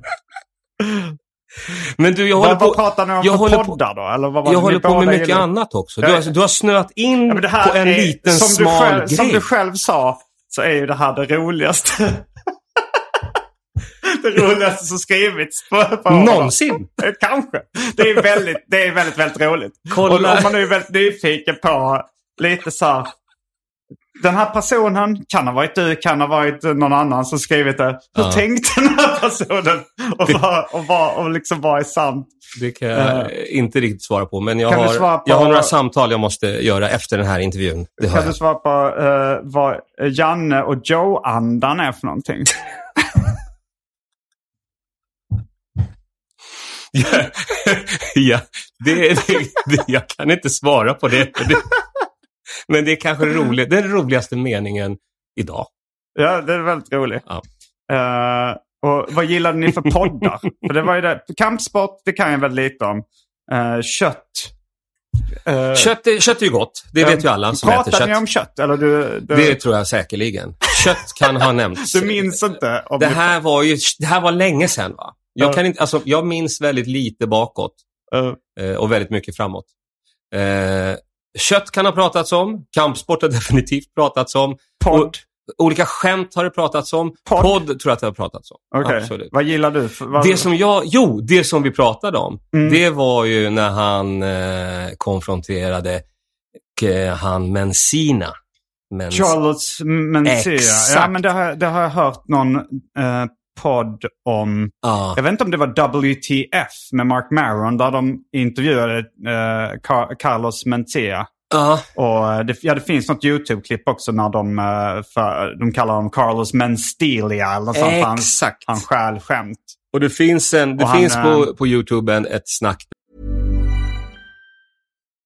[SPEAKER 2] Men du, jag håller
[SPEAKER 1] Vad, vad
[SPEAKER 2] på,
[SPEAKER 1] pratar ni om
[SPEAKER 2] jag
[SPEAKER 1] för
[SPEAKER 2] håller på-
[SPEAKER 1] poddar då? Eller vad var det
[SPEAKER 2] jag håller
[SPEAKER 1] ni båda
[SPEAKER 2] på med mycket
[SPEAKER 1] gillar?
[SPEAKER 2] annat också. Du
[SPEAKER 1] Ja.
[SPEAKER 2] har, du har snöat in
[SPEAKER 1] Ja, men det här
[SPEAKER 2] på en
[SPEAKER 1] är,
[SPEAKER 2] liten
[SPEAKER 1] som
[SPEAKER 2] smal
[SPEAKER 1] du själv,
[SPEAKER 2] grej.
[SPEAKER 1] Som du själv sa så är ju det här det roligaste. det roligaste som skrivits på, på Eh,
[SPEAKER 2] Någonsin.
[SPEAKER 1] Kanske. Det är väldigt, det är väldigt, väldigt roligt.
[SPEAKER 2] Kolla.
[SPEAKER 1] Och, och man är ju väldigt nyfiken på lite så här. Den här personen kan ha varit du, kan ha varit någon annan som skrivit det. Hur
[SPEAKER 2] Ja.
[SPEAKER 1] tänkte den här personen? Och, vad, och, vad, och liksom vad är sant?
[SPEAKER 2] Det kan jag inte riktigt svara på, men jag
[SPEAKER 1] Kan du
[SPEAKER 2] har,
[SPEAKER 1] svara på-
[SPEAKER 2] jag har några samtal jag måste göra efter den här intervjun. Det har
[SPEAKER 1] Kan du
[SPEAKER 2] jag.
[SPEAKER 1] svara på eh, vad Janne och Joe-andan är för någonting?
[SPEAKER 2] ja, det, det, det, jag kan inte svara på det. det men det är kanske det roliga, den roligaste meningen idag.
[SPEAKER 1] Ja, det är väldigt roligt.
[SPEAKER 2] Ja.
[SPEAKER 1] Eh, och vad gillade ni för poddar? för det var ju det. Kampsport, det kan jag väldigt lite om. Eh, kött. Eh,
[SPEAKER 2] Kött är, kött är ju gott. Det vet ju alla som äter
[SPEAKER 1] Pratade ni
[SPEAKER 2] kött.
[SPEAKER 1] om kött? Eller du, du,
[SPEAKER 2] Det tror jag säkerligen. Kött kan ha nämnts.
[SPEAKER 1] du minns inte? Om
[SPEAKER 2] Det
[SPEAKER 1] ni-
[SPEAKER 2] här var ju, det här var länge sedan va?
[SPEAKER 1] Ja.
[SPEAKER 2] Jag, kan inte, alltså, jag minns väldigt lite bakåt
[SPEAKER 1] eh,
[SPEAKER 2] eh, och väldigt mycket framåt. Eh, kött kan ha pratats om. Kampsport har definitivt pratats om.
[SPEAKER 1] podd?
[SPEAKER 2] Och, olika skämt har det pratats om.
[SPEAKER 1] Podd.
[SPEAKER 2] Podd, tror jag att det har pratats om.
[SPEAKER 1] Okej.
[SPEAKER 2] Absolut.
[SPEAKER 1] Vad gillar du? För, vad,
[SPEAKER 2] Det som jag, jo, det som vi pratade om,
[SPEAKER 1] Mm.
[SPEAKER 2] det var ju när han eh, konfronterade eh, han Mensina. Mens-
[SPEAKER 1] Charlotte Mencia. Ja,
[SPEAKER 2] Exakt.
[SPEAKER 1] men det har, det har jag hört någon eh, podd om.
[SPEAKER 2] Ja.
[SPEAKER 1] Jag vet inte om det var WTF med Mark Maron där de intervjuade eh, Car- Carlos Mencia.
[SPEAKER 2] Ja.
[SPEAKER 1] Och eh, det, ja, det finns något YouTube-klipp också när de, eh, för, de kallar honom Carlos Menstelia eller något sånt. för Han,
[SPEAKER 2] Exakt.
[SPEAKER 1] han stjäl skämt.
[SPEAKER 2] Och det finns, en, det
[SPEAKER 1] Och han,
[SPEAKER 2] finns
[SPEAKER 1] eh,
[SPEAKER 2] på, på YouTube en, ett snack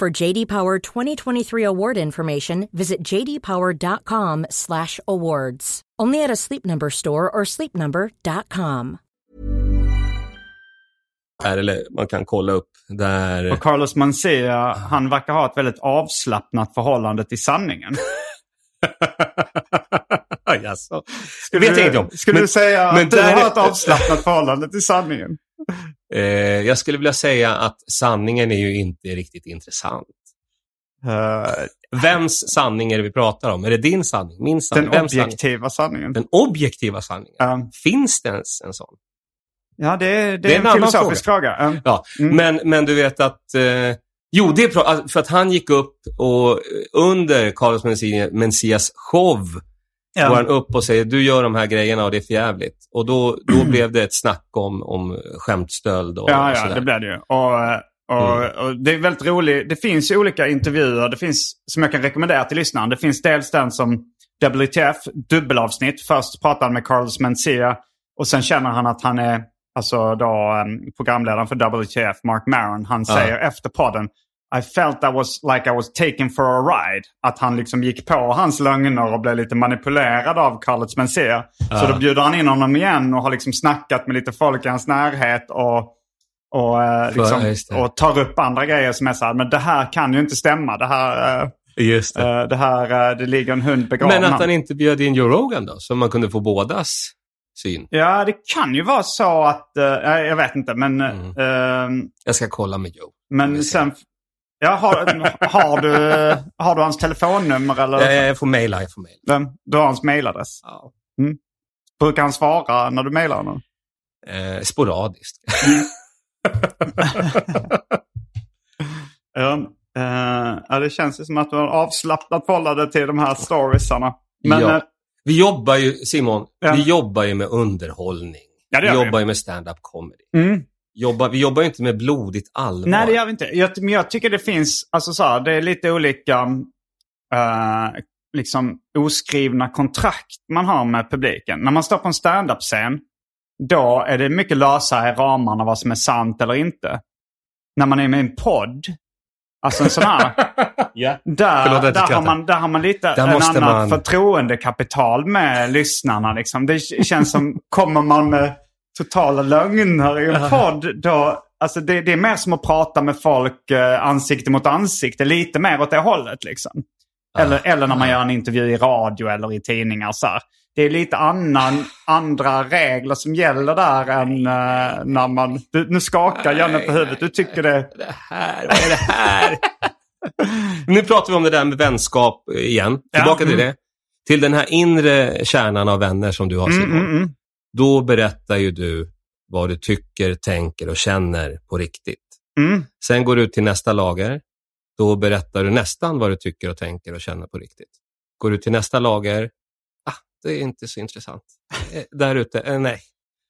[SPEAKER 4] For JD Power 2023 award information, visit jdpower.com/awards. Only at a Sleep Number store or sleepnumber.com.
[SPEAKER 2] Här, eller man kan kolla upp där.
[SPEAKER 1] Och Carlos Mancia, han verkar ha ett väldigt avslappnat förhållande till sanningen.
[SPEAKER 2] Jaså? Vet jag inte om.
[SPEAKER 1] Skulle
[SPEAKER 2] Men-
[SPEAKER 1] du säga
[SPEAKER 2] men
[SPEAKER 1] att du
[SPEAKER 2] där-
[SPEAKER 1] har ett avslappnat förhållande till sanningen?
[SPEAKER 2] Eh, jag skulle vilja säga att sanningen är ju inte riktigt intressant.
[SPEAKER 1] Eh,
[SPEAKER 2] Vems sanning är det vi pratar om? Är det din sanning? Min sanning?
[SPEAKER 1] den
[SPEAKER 2] Vems sanning?
[SPEAKER 1] objektiva sanningen.
[SPEAKER 2] Den objektiva sanningen.
[SPEAKER 1] Ja.
[SPEAKER 2] Finns det ens en sån?
[SPEAKER 1] ja, det, är- det,
[SPEAKER 2] Det är
[SPEAKER 1] är en,
[SPEAKER 2] en annan
[SPEAKER 1] filosofisk fråga. Ja.
[SPEAKER 2] Ja,
[SPEAKER 1] Mm.
[SPEAKER 2] men, men du vet att... Eh, jo, det är pra- att- för att han gick upp och eh, under Carlos Mencia- Mencias show
[SPEAKER 1] Ja.
[SPEAKER 2] går han upp och säger du gör de här grejerna och det är för jävligt. Och då, då blev det ett snack om, om skämtstöld och,
[SPEAKER 1] Ja,
[SPEAKER 2] och
[SPEAKER 1] ja
[SPEAKER 2] sådär.
[SPEAKER 1] det blev det ju. Och, eh, och, och det är väldigt roligt. Det finns ju olika intervjuer det finns, som jag kan rekommendera till lyssnaren. Det finns dels den som WTF, dubbelavsnitt. Först pratar han med Carlos Mencia och sen känner han att han är alltså då, em, programledaren för WTF, Mark Maron. Han säger efter podden I felt that was like I was taken for a ride. Att han liksom gick på hans lögner och blev lite manipulerad av Carlos Mencia. Så då bjuder han in honom igen och har liksom snackat med lite folk i hans närhet. Och och, eh,
[SPEAKER 2] För- ja,
[SPEAKER 1] liksom,
[SPEAKER 2] just det.
[SPEAKER 1] och tar upp andra grejer som är så här, men det här kan ju inte stämma. Det här, eh,
[SPEAKER 2] Just det.
[SPEAKER 1] eh, det här eh, det ligger en hund begraven.
[SPEAKER 2] men
[SPEAKER 1] här."
[SPEAKER 2] att han inte bjöd in Joe Rogan då, så man kunde få bådas syn.
[SPEAKER 1] Ja, det kan ju vara så att, eh, nej, jag vet inte, men, eh,
[SPEAKER 2] Mm.
[SPEAKER 1] ehm,
[SPEAKER 2] Jag ska kolla med Joe.
[SPEAKER 1] men
[SPEAKER 2] Vi ser.
[SPEAKER 1] sen... Ja, har, har, du, har du hans telefonnummer eller?
[SPEAKER 2] Jag, jag får mejla, jag får mejla.
[SPEAKER 1] Vem? Du har hans mailadress.
[SPEAKER 2] Ja.
[SPEAKER 1] Brukar han svara när du mailar honom?
[SPEAKER 2] Eh, sporadiskt.
[SPEAKER 1] Ja, eh, ja, det känns ju som att du har avslappnat förhållande till de här storiesarna. Men,
[SPEAKER 2] Ja.
[SPEAKER 1] eh,
[SPEAKER 2] Vi jobbar ju, Simon,
[SPEAKER 1] Ja.
[SPEAKER 2] vi jobbar ju med underhållning.
[SPEAKER 1] Ja, det
[SPEAKER 2] vi
[SPEAKER 1] gör vi.
[SPEAKER 2] jobbar ju med stand-up comedy.
[SPEAKER 1] mm.
[SPEAKER 2] Jobbar, vi jobbar ju inte med blodigt allvar.
[SPEAKER 1] Nej, det gör vi inte. Jag, men jag tycker det finns, alltså så här, det är lite olika eh, liksom oskrivna kontrakt man har med publiken. När man står på en standup-scen, då är det mycket lösare i ramarna vad som är sant eller inte. När man är med i en podd, alltså en sån här,
[SPEAKER 2] Ja. Förlåt att
[SPEAKER 1] där,
[SPEAKER 2] jag
[SPEAKER 1] där, har,
[SPEAKER 2] skrattar.
[SPEAKER 1] man, där har man lite
[SPEAKER 2] Där
[SPEAKER 1] en
[SPEAKER 2] måste
[SPEAKER 1] annat
[SPEAKER 2] man-
[SPEAKER 1] förtroendekapital med lyssnarna. Liksom. Det k- känns som, kommer man med totala lögner i en podd, då, alltså det, det är mer som att prata med folk eh, ansikte mot ansikte. Lite mer åt det hållet liksom. Eller, eller när man gör en intervju i radio eller i tidningar. Så här. Det är lite annan, andra regler som gäller där än eh, när man... Du, nu skakar Janne på huvudet. Du tycker det...
[SPEAKER 2] Det här, vad är det här? nu pratar vi om det där med vänskap igen. Tillbaka
[SPEAKER 1] Mm.
[SPEAKER 2] till det. Till den här inre kärnan av vänner som du har, Simon.
[SPEAKER 1] Mm, mm, mm.
[SPEAKER 2] Då berättar ju du vad du tycker, tänker och känner på riktigt.
[SPEAKER 1] Mm.
[SPEAKER 2] Sen går du ut till nästa lager. Då berättar du nästan vad du tycker och tänker och känner på riktigt. Går du till nästa lager. Ah, det är inte så intressant. Eh, Där ute, eh, nej.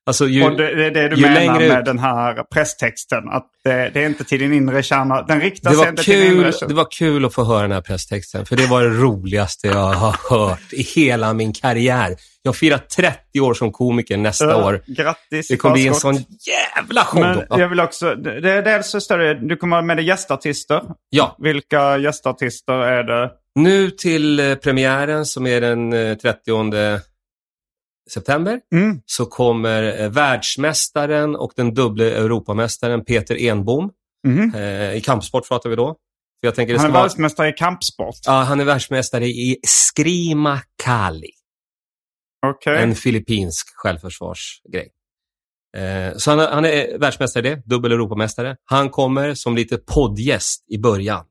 [SPEAKER 2] Alltså, ju,
[SPEAKER 1] och det, det är det du
[SPEAKER 2] ju
[SPEAKER 1] menar
[SPEAKER 2] längre
[SPEAKER 1] med
[SPEAKER 2] ut-
[SPEAKER 1] den här presstexten. Att det, det är inte till din inre kärna. Den riktar
[SPEAKER 2] det,
[SPEAKER 1] sig
[SPEAKER 2] var
[SPEAKER 1] inte till din inre
[SPEAKER 2] kul, det
[SPEAKER 1] kärna.
[SPEAKER 2] var kul att få höra den här presstexten, för det var det roligaste jag har hört i hela min karriär. Jag firar 30 år som komiker nästa
[SPEAKER 1] Ja,
[SPEAKER 2] år.
[SPEAKER 1] Grattis
[SPEAKER 2] Det kommer bli en
[SPEAKER 1] förskott.
[SPEAKER 2] sån jävla show
[SPEAKER 1] Men
[SPEAKER 2] då. Ja.
[SPEAKER 1] jag vill också... Det, det, är dels så står det, du kommer ha med dig gästartister.
[SPEAKER 2] Ja,
[SPEAKER 1] Vilka gästartister är det?
[SPEAKER 2] nu till eh, premiären som är den eh, 30 september.
[SPEAKER 1] Mm.
[SPEAKER 2] så kommer eh, världsmästaren och den dubbla Europamästaren Peter Enbom.
[SPEAKER 1] Mhm.
[SPEAKER 2] Eh, I kampsport pratar vi då. För jag tänker det
[SPEAKER 1] Han
[SPEAKER 2] ska
[SPEAKER 1] är
[SPEAKER 2] vara,
[SPEAKER 1] världsmästare i kampsport.
[SPEAKER 2] ja, han är världsmästare i Skrima Kali,
[SPEAKER 1] Okej.
[SPEAKER 2] en filippinsk självförsvarsgrej. Eh, så han, han är världsmästare i det, dubbel Europamästare. Han kommer som lite poddgäst i början.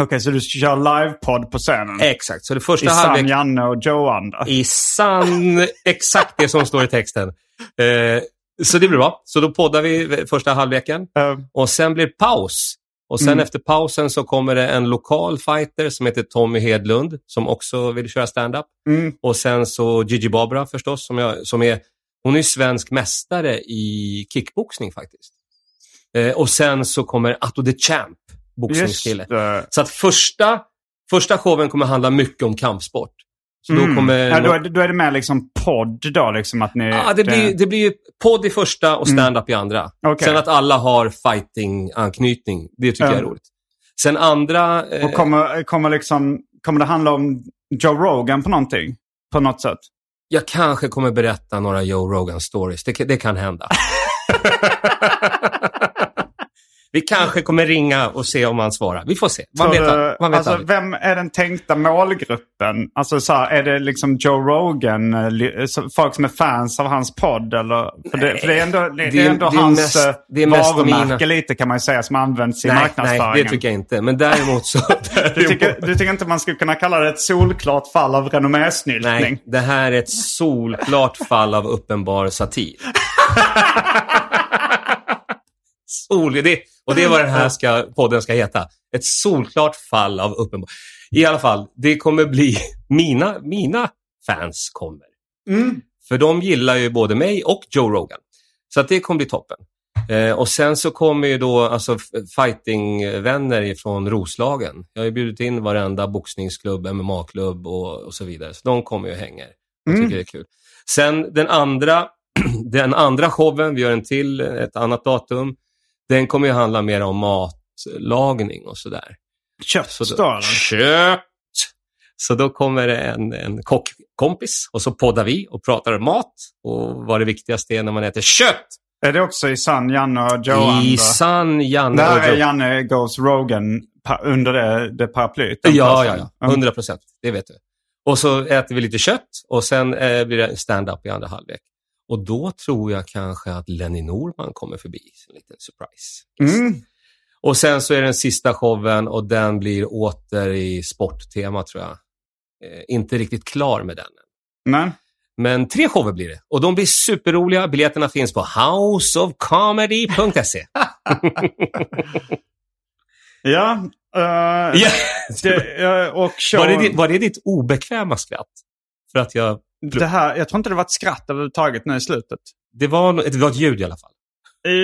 [SPEAKER 1] Okej, så du ska köra livepodd på scenen?
[SPEAKER 2] Exakt, så det Eh, första
[SPEAKER 1] Mm. I sann
[SPEAKER 2] halvlek
[SPEAKER 1] Janne och Johan då?
[SPEAKER 2] i sann, exakt det som står i texten. Eh, så det blir bra. Så då poddar vi första halvleken.
[SPEAKER 1] Eh,
[SPEAKER 2] Och sen blir det paus. Och sen
[SPEAKER 1] Mm.
[SPEAKER 2] efter pausen så kommer det en lokal fighter som heter Tommy Hedlund som också vill köra stand-up.
[SPEAKER 1] Mm.
[SPEAKER 2] Och sen så Gigi Barbara förstås, som, jag, som är, hon är ju svensk mästare i kickboxning faktiskt. Eh, och sen så kommer Atto the Champ, boxningskille.
[SPEAKER 1] Just eh, det.
[SPEAKER 2] Så att första, första showen kommer handla mycket om kampsport. Så då
[SPEAKER 1] Mm.
[SPEAKER 2] kommer...
[SPEAKER 1] ja, då, är, det- då är det mer liksom podd då, liksom att ni...
[SPEAKER 2] Ja, det, blir, det blir ju podd i första och stand-up i andra.
[SPEAKER 1] Mm. Okej.
[SPEAKER 2] Sen att alla har fighting-anknytning, det tycker
[SPEAKER 1] Ja.
[SPEAKER 2] jag är roligt. Sen andra... eh,
[SPEAKER 1] Och kommer, kommer, liksom, kommer det handla om Joe Rogan på någonting? På något sätt?
[SPEAKER 2] Jag kanske kommer berätta några Joe Rogan-stories. Det, det kan hända. Vi kanske kommer ringa och se om han svarar. Vi får se. Man vet,
[SPEAKER 1] Tror du-
[SPEAKER 2] aldrig. man vet
[SPEAKER 1] alltså,
[SPEAKER 2] aldrig.
[SPEAKER 1] vem är den tänkta målgruppen? Alltså, så här, är det liksom Joe Rogan, eh, li- så- folk som är fans av hans podd? Eller? För, det, för det är ändå, det,
[SPEAKER 2] Det
[SPEAKER 1] det
[SPEAKER 2] är-
[SPEAKER 1] är ändå
[SPEAKER 2] det är
[SPEAKER 1] hans
[SPEAKER 2] mest-
[SPEAKER 1] eh,
[SPEAKER 2] det är mest de
[SPEAKER 1] varumärke
[SPEAKER 2] mina-
[SPEAKER 1] lite kan man ju säga som används i
[SPEAKER 2] Nej, nej,
[SPEAKER 1] marknadsföringen.
[SPEAKER 2] det tycker jag inte. Men däremot så...
[SPEAKER 1] du, tycker, du tycker inte man skulle kunna kalla det ett solklart fall av renommésnyltning?
[SPEAKER 2] Nej, det här är ett solklart fall av uppenbar satir. Sol, det, och det är vad den här ska, podden ska heta. Ett solklart fall av uppenbar... I alla fall, det kommer bli... Mina, mina fans kommer.
[SPEAKER 1] Mm.
[SPEAKER 2] För de gillar ju både mig och Joe Rogan. Så att det kommer bli toppen. Eh, och sen så kommer ju då alltså, f- fightingvänner från Roslagen. Jag har ju bjudit in varenda boxningsklubb, MMA-klubb och, och så vidare. Så de kommer ju och hänger. Jag tycker
[SPEAKER 1] Mm.
[SPEAKER 2] det är kul. Sen den andra, den andra showen, vi gör en till, ett annat datum. Den kommer ju handla mer om matlagning och sådär. Så då-
[SPEAKER 1] Köttstaren.
[SPEAKER 2] Kött! Så då kommer det en, en kockkompis och så poddar vi och pratar om mat och vad det viktigaste är när man äter kött.
[SPEAKER 1] Är det också i sann Janne och Johan?
[SPEAKER 2] I
[SPEAKER 1] då?
[SPEAKER 2] sann Janne
[SPEAKER 1] Det här
[SPEAKER 2] och
[SPEAKER 1] är
[SPEAKER 2] Joe.
[SPEAKER 1] Janne Goes Rogan pa- under det, det paraplyet.
[SPEAKER 2] Ja, ja, ja.
[SPEAKER 1] Mm.
[SPEAKER 2] 100 procent. Det vet du. Och så äter vi lite kött och sen eh, blir det stand-up i andra halvlek. Och då tror jag kanske att Lenny Norman kommer förbi. En liten surprise.
[SPEAKER 1] Mm.
[SPEAKER 2] Och sen så är den sista showen och den blir åter i sporttema tror jag. Eh, inte riktigt klar med den.
[SPEAKER 1] Men
[SPEAKER 2] Men tre shower blir det och de blir superroliga. Biljetterna finns på houseofcomedy.se.
[SPEAKER 1] ja. eh,
[SPEAKER 2] Ja.
[SPEAKER 1] det, eh, och
[SPEAKER 2] var,
[SPEAKER 1] showen,
[SPEAKER 2] det ditt, var det ditt obekväma skratt? För att jag...
[SPEAKER 1] det här, jag tror inte det var ett skratt överhuvudtaget nu i slutet.
[SPEAKER 2] Det var, no- det var ett ljud i alla fall.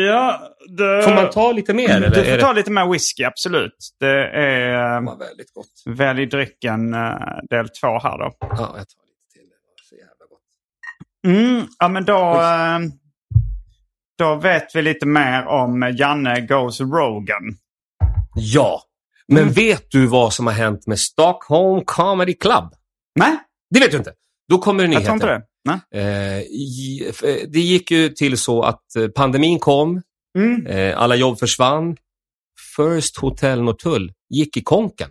[SPEAKER 1] Ja, det...
[SPEAKER 2] Får man ta lite mer? Eller?
[SPEAKER 1] Mm, Du
[SPEAKER 2] är
[SPEAKER 1] får
[SPEAKER 2] det-
[SPEAKER 1] ta lite mer whisky, absolut. Det är...
[SPEAKER 2] Det
[SPEAKER 1] eh,
[SPEAKER 2] var väldigt gott.
[SPEAKER 1] Välj drycken eh, del två här då.
[SPEAKER 2] Ja, jag tar lite till. Det var så jävla gott.
[SPEAKER 1] Mm, ja, men då, eh, då vet vi lite mer om Janne Goes Rogan.
[SPEAKER 2] Ja, men
[SPEAKER 1] Mm.
[SPEAKER 2] vet du vad som har hänt med Stockholm Comedy Club?
[SPEAKER 1] Nej,
[SPEAKER 2] Det vet du inte. Då kommer det
[SPEAKER 1] jag
[SPEAKER 2] nyheter.
[SPEAKER 1] tror inte det. Nej.
[SPEAKER 2] Eh, i- f- eh, det gick ju till så att eh, pandemin kom.
[SPEAKER 1] Mm.
[SPEAKER 2] Eh, alla jobb försvann. First Hotel Norrtull gick i konken.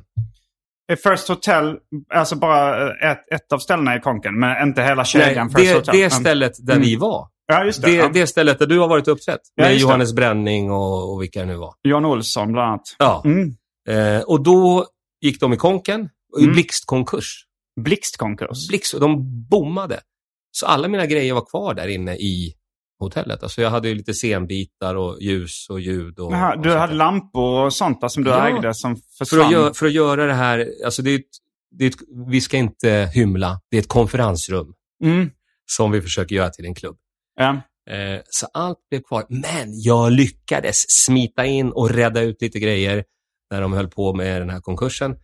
[SPEAKER 1] First Hotel, alltså bara eh, ett, ett av ställena i konken, men inte hela kedjan
[SPEAKER 2] Nej,
[SPEAKER 1] First
[SPEAKER 2] det,
[SPEAKER 1] Hotel.
[SPEAKER 2] det
[SPEAKER 1] Mm.
[SPEAKER 2] stället där vi var.
[SPEAKER 1] Ja, just det.
[SPEAKER 2] Det,
[SPEAKER 1] ja.
[SPEAKER 2] det stället där du har varit uppträtt.
[SPEAKER 1] Ja,
[SPEAKER 2] Med
[SPEAKER 1] just det.
[SPEAKER 2] Johannes Bränning och, och vilka det nu var.
[SPEAKER 1] Jan Olsson bland annat.
[SPEAKER 2] Ja.
[SPEAKER 1] Mm.
[SPEAKER 2] Eh, och då gick de i konken. och I
[SPEAKER 1] Mm.
[SPEAKER 2] blixtkonkurs.
[SPEAKER 1] Blixtkonkurs.
[SPEAKER 2] Blixt, och de bommade. Så alla mina grejer var kvar där inne i hotellet. Alltså jag hade ju lite scenbitar och ljus och ljud. Och,
[SPEAKER 1] Jaha,
[SPEAKER 2] och
[SPEAKER 1] du
[SPEAKER 2] sånt
[SPEAKER 1] hade
[SPEAKER 2] där.
[SPEAKER 1] lampor och sånt där som du
[SPEAKER 2] Ja.
[SPEAKER 1] ägde som
[SPEAKER 2] för att,
[SPEAKER 1] försvann.
[SPEAKER 2] göra, för att göra det här, alltså det är ett, det är ett, vi ska inte hymla. Det är ett konferensrum
[SPEAKER 1] Mm.
[SPEAKER 2] som vi försöker göra till en klubb.
[SPEAKER 1] Ja.
[SPEAKER 2] Eh, så allt blev kvar. Men jag lyckades smita in och rädda ut lite grejer när de höll på med den här konkursen.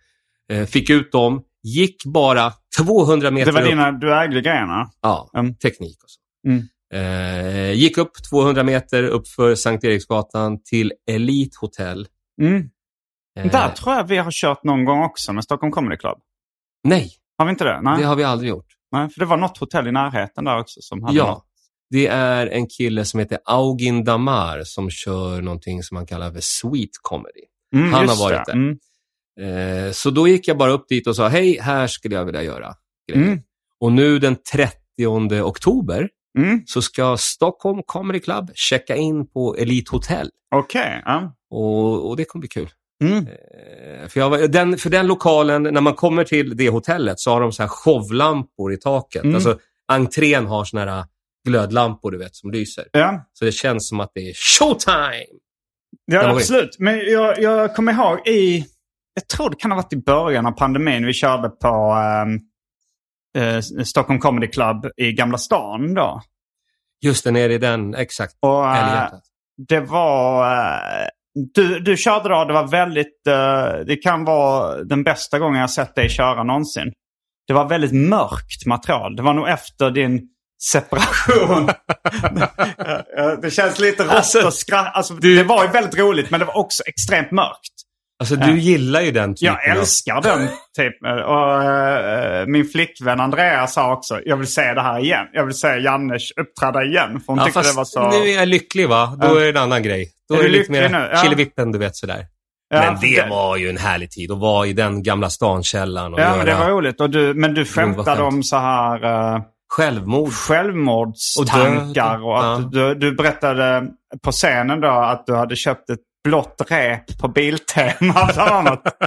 [SPEAKER 2] Eh, fick ut dem, gick bara 200 meter
[SPEAKER 1] Det var
[SPEAKER 2] upp.
[SPEAKER 1] dina, du ägde grejerna.
[SPEAKER 2] Ja,
[SPEAKER 1] Mm.
[SPEAKER 2] teknik och så.
[SPEAKER 1] Mm.
[SPEAKER 2] Eh, gick upp 200 meter uppför Sankt Eriksgatan till Elite Hotel.
[SPEAKER 1] Mm.
[SPEAKER 2] Eh,
[SPEAKER 1] Där tror jag vi har kört någon gång också med Stockholm Comedy Club.
[SPEAKER 2] Nej,
[SPEAKER 1] Har vi inte det? Nej,
[SPEAKER 2] det har vi aldrig gjort.
[SPEAKER 1] Nej för det var något hotell i närheten där också som hade något.
[SPEAKER 2] Ja. Det är en kille som heter Augin Damar som kör någonting som man kallar för sweet comedy.
[SPEAKER 1] Mm,
[SPEAKER 2] Han
[SPEAKER 1] just
[SPEAKER 2] har varit
[SPEAKER 1] det.
[SPEAKER 2] där.
[SPEAKER 1] Mm.
[SPEAKER 2] Eh, så då gick jag bara upp dit och sa, hej, här skulle jag vilja göra grejer.
[SPEAKER 1] Mm.
[SPEAKER 2] Och nu den 30 oktober
[SPEAKER 1] Mm.
[SPEAKER 2] så ska Stockholm Comedy Club checka in på Elite Hotel.
[SPEAKER 1] Okej. Ja.
[SPEAKER 2] Och, och det kommer bli kul.
[SPEAKER 1] Mm.
[SPEAKER 2] Eh, För, jag var, den, för den lokalen, när man kommer till det hotellet så har de så här showlampor i taket.
[SPEAKER 1] Mm.
[SPEAKER 2] Alltså entrén har såna här glödlampor du vet som lyser.
[SPEAKER 1] Ja.
[SPEAKER 2] Så det känns som att det är showtime!
[SPEAKER 1] Ja,
[SPEAKER 2] var vi.
[SPEAKER 1] absolut. Men jag, jag kommer ihåg i... Jag tror det kan ha varit i början av pandemin. Vi körde på ehm, eh, Stockholm Comedy Club i Gamla stan då.
[SPEAKER 2] Just det, nere i den, exakt.
[SPEAKER 1] Och, eh,
[SPEAKER 2] Älghjärtat.
[SPEAKER 1] det var... eh, du, du körde då, det var väldigt... eh, det kan vara den bästa gången jag sett dig köra någonsin. Det var väldigt mörkt material. Det var nog efter din separation. Ja, ja, det känns lite rått och skratt. Alltså, det var ju väldigt roligt men det var också extremt mörkt.
[SPEAKER 2] Alltså du gillar ju den typen
[SPEAKER 1] Jag älskar den typen. Och, eh, min flickvän Andrea sa också, jag vill se det här igen. Jag vill se Jannes uppträda igen. För hon
[SPEAKER 2] av... Ja,
[SPEAKER 1] tyckte
[SPEAKER 2] fast
[SPEAKER 1] det var så...
[SPEAKER 2] nu är jag lycklig va? Då
[SPEAKER 1] Ja.
[SPEAKER 2] är det en annan grej. Då
[SPEAKER 1] Är
[SPEAKER 2] är,
[SPEAKER 1] du
[SPEAKER 2] det lite
[SPEAKER 1] lycklig
[SPEAKER 2] mer
[SPEAKER 1] nu? Ja.
[SPEAKER 2] killevippen, du vet sådär.
[SPEAKER 1] Ja,
[SPEAKER 2] men det,
[SPEAKER 1] det-
[SPEAKER 2] var ju en härlig tid att vara i den gamla stankällaren och
[SPEAKER 1] Ja,
[SPEAKER 2] göra
[SPEAKER 1] men det var roligt. Och du, men du skämtade
[SPEAKER 2] skämt.
[SPEAKER 1] om så här eh,
[SPEAKER 2] självmord.
[SPEAKER 1] självmordstankar.
[SPEAKER 2] Och död.
[SPEAKER 1] Och, att du, du berättade på scenen då att du hade köpt ett blått rep på Biltema. bland annat.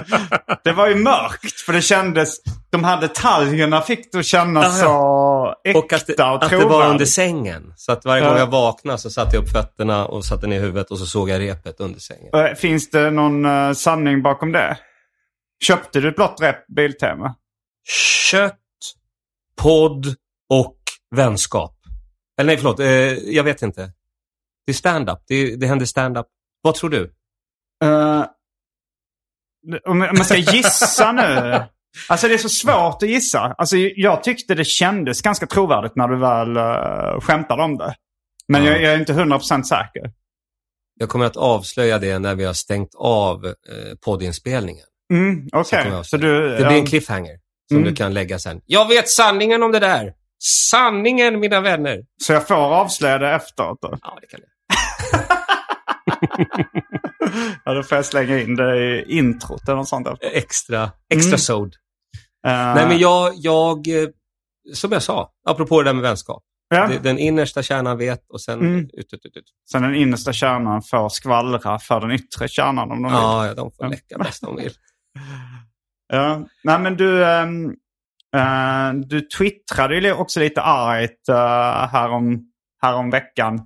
[SPEAKER 1] det var ju mörkt för det kändes... De här detaljerna fick du känna
[SPEAKER 2] ja.
[SPEAKER 1] så äkta
[SPEAKER 2] Och
[SPEAKER 1] och,
[SPEAKER 2] att det, att det var
[SPEAKER 1] trovärdigt.
[SPEAKER 2] under sängen. Så att varje
[SPEAKER 1] Ja.
[SPEAKER 2] gång jag vaknade så satte jag upp fötterna och satte ner huvudet och så såg jag repet under sängen.
[SPEAKER 1] Eh, Finns det någon eh, sanning bakom det? Köpte du ett blått rep på Biltema?
[SPEAKER 2] Kött, podd och vänskap. Eller nej, förlåt. Eh, jag vet inte. Det är stand-up. Det, det händer stand-up. Vad tror du?
[SPEAKER 1] Eh, om om man ska gissa nu. Alltså det är så svårt att gissa. Alltså jag tyckte det kändes ganska trovärdigt när du väl uh, skämtade om det. Men jag, jag är inte 100% säker.
[SPEAKER 2] Jag kommer att avslöja det när vi har stängt av eh, poddinspelningen.
[SPEAKER 1] Mm,
[SPEAKER 2] Så
[SPEAKER 1] Okej,
[SPEAKER 2] kommer jag
[SPEAKER 1] så
[SPEAKER 2] avslöja.
[SPEAKER 1] du... eh,
[SPEAKER 2] det
[SPEAKER 1] ja,
[SPEAKER 2] blir en cliffhanger som
[SPEAKER 1] Mm.
[SPEAKER 2] du kan lägga sen. Jag vet sanningen om det där! Sanningen, mina vänner!
[SPEAKER 1] Så jag får avslöja det efteråt då?
[SPEAKER 2] Ja, det kan jag.
[SPEAKER 1] Ja, då får jag slänga in det i introt eller något sånt. Uh,
[SPEAKER 2] Eh, Extra,
[SPEAKER 1] Mm.
[SPEAKER 2] extra sod.
[SPEAKER 1] Ah.
[SPEAKER 2] Nej, men jag, jag, eh, som jag sa, apropå det där med vänskap.
[SPEAKER 1] ja.
[SPEAKER 2] Det- Den innersta kärnan vet och sen
[SPEAKER 1] Mm.
[SPEAKER 2] ut, ut, ut, ut.
[SPEAKER 1] Sen den innersta kärnan får skvallra för den yttre kärnan om de vill.
[SPEAKER 2] Ja, ja, de får
[SPEAKER 1] Ja.
[SPEAKER 2] läcka bäst de vill.
[SPEAKER 1] Ja, nej men du, ehm, eh, du twittrade ju också lite argt uh, härom, härom veckan.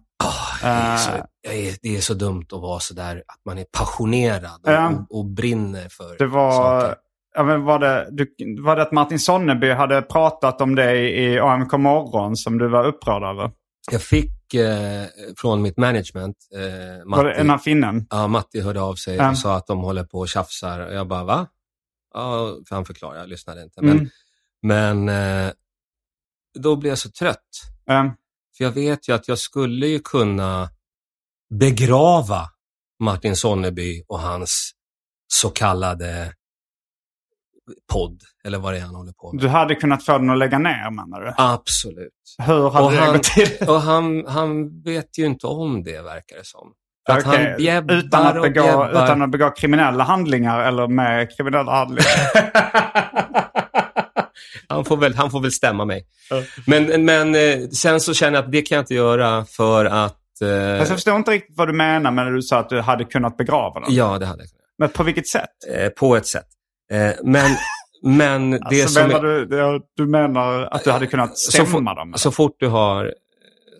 [SPEAKER 1] Eh,
[SPEAKER 2] Så jag är, det är så dumt att vara så där att man är passionerad och,
[SPEAKER 1] Ja.
[SPEAKER 2] och, och brinner för
[SPEAKER 1] Eh, det var,
[SPEAKER 2] saker.
[SPEAKER 1] ja, men var, det, du, var det att Martin Sonneby hade pratat om dig i AMK morgon som du var upprörd över?
[SPEAKER 2] Jag fick eh, från mitt management, eh,
[SPEAKER 1] Var det
[SPEAKER 2] Matti,
[SPEAKER 1] den här finnen?
[SPEAKER 2] ja, Matti hörde av sig
[SPEAKER 1] Ja.
[SPEAKER 2] och sa att de håller på och tjafsar. Och jag bara, va? Ja, för han förklarade, jag lyssnade inte. Men,
[SPEAKER 1] Mm.
[SPEAKER 2] men eh, då blev jag så trött.
[SPEAKER 1] Eh,
[SPEAKER 2] För jag vet ju att jag skulle ju kunna begrava Martin Sonneby och hans så kallade podd, eller vad det är han håller på med.
[SPEAKER 1] du hade kunnat få den att lägga ner menar du?
[SPEAKER 2] Absolut.
[SPEAKER 1] Hur hade
[SPEAKER 2] Och
[SPEAKER 1] det
[SPEAKER 2] han-
[SPEAKER 1] gått till?
[SPEAKER 2] Och han, han vet ju inte om det, verkar det som. För Att
[SPEAKER 1] Okej,
[SPEAKER 2] han bjäbbar
[SPEAKER 1] utan, att
[SPEAKER 2] och
[SPEAKER 1] begå,
[SPEAKER 2] bjäbbar.
[SPEAKER 1] utan att begå kriminella handlingar eller med kriminella handlingar?
[SPEAKER 2] han, får väl, han får väl stämma mig. Men, men eh, sen så känner jag att det kan jag inte göra för att... eh,
[SPEAKER 1] Fast jag förstår inte riktigt vad du menar med när du sa att du hade kunnat begrava den.
[SPEAKER 2] Ja, det hade jag.
[SPEAKER 1] Men på vilket sätt?
[SPEAKER 2] eh, på ett sätt. Eh, men men det
[SPEAKER 1] Alltså,
[SPEAKER 2] som...
[SPEAKER 1] menar du, det- du menar att du hade kunnat
[SPEAKER 2] så, alltså-
[SPEAKER 1] stämma
[SPEAKER 2] fort,
[SPEAKER 1] dem?
[SPEAKER 2] så fort du har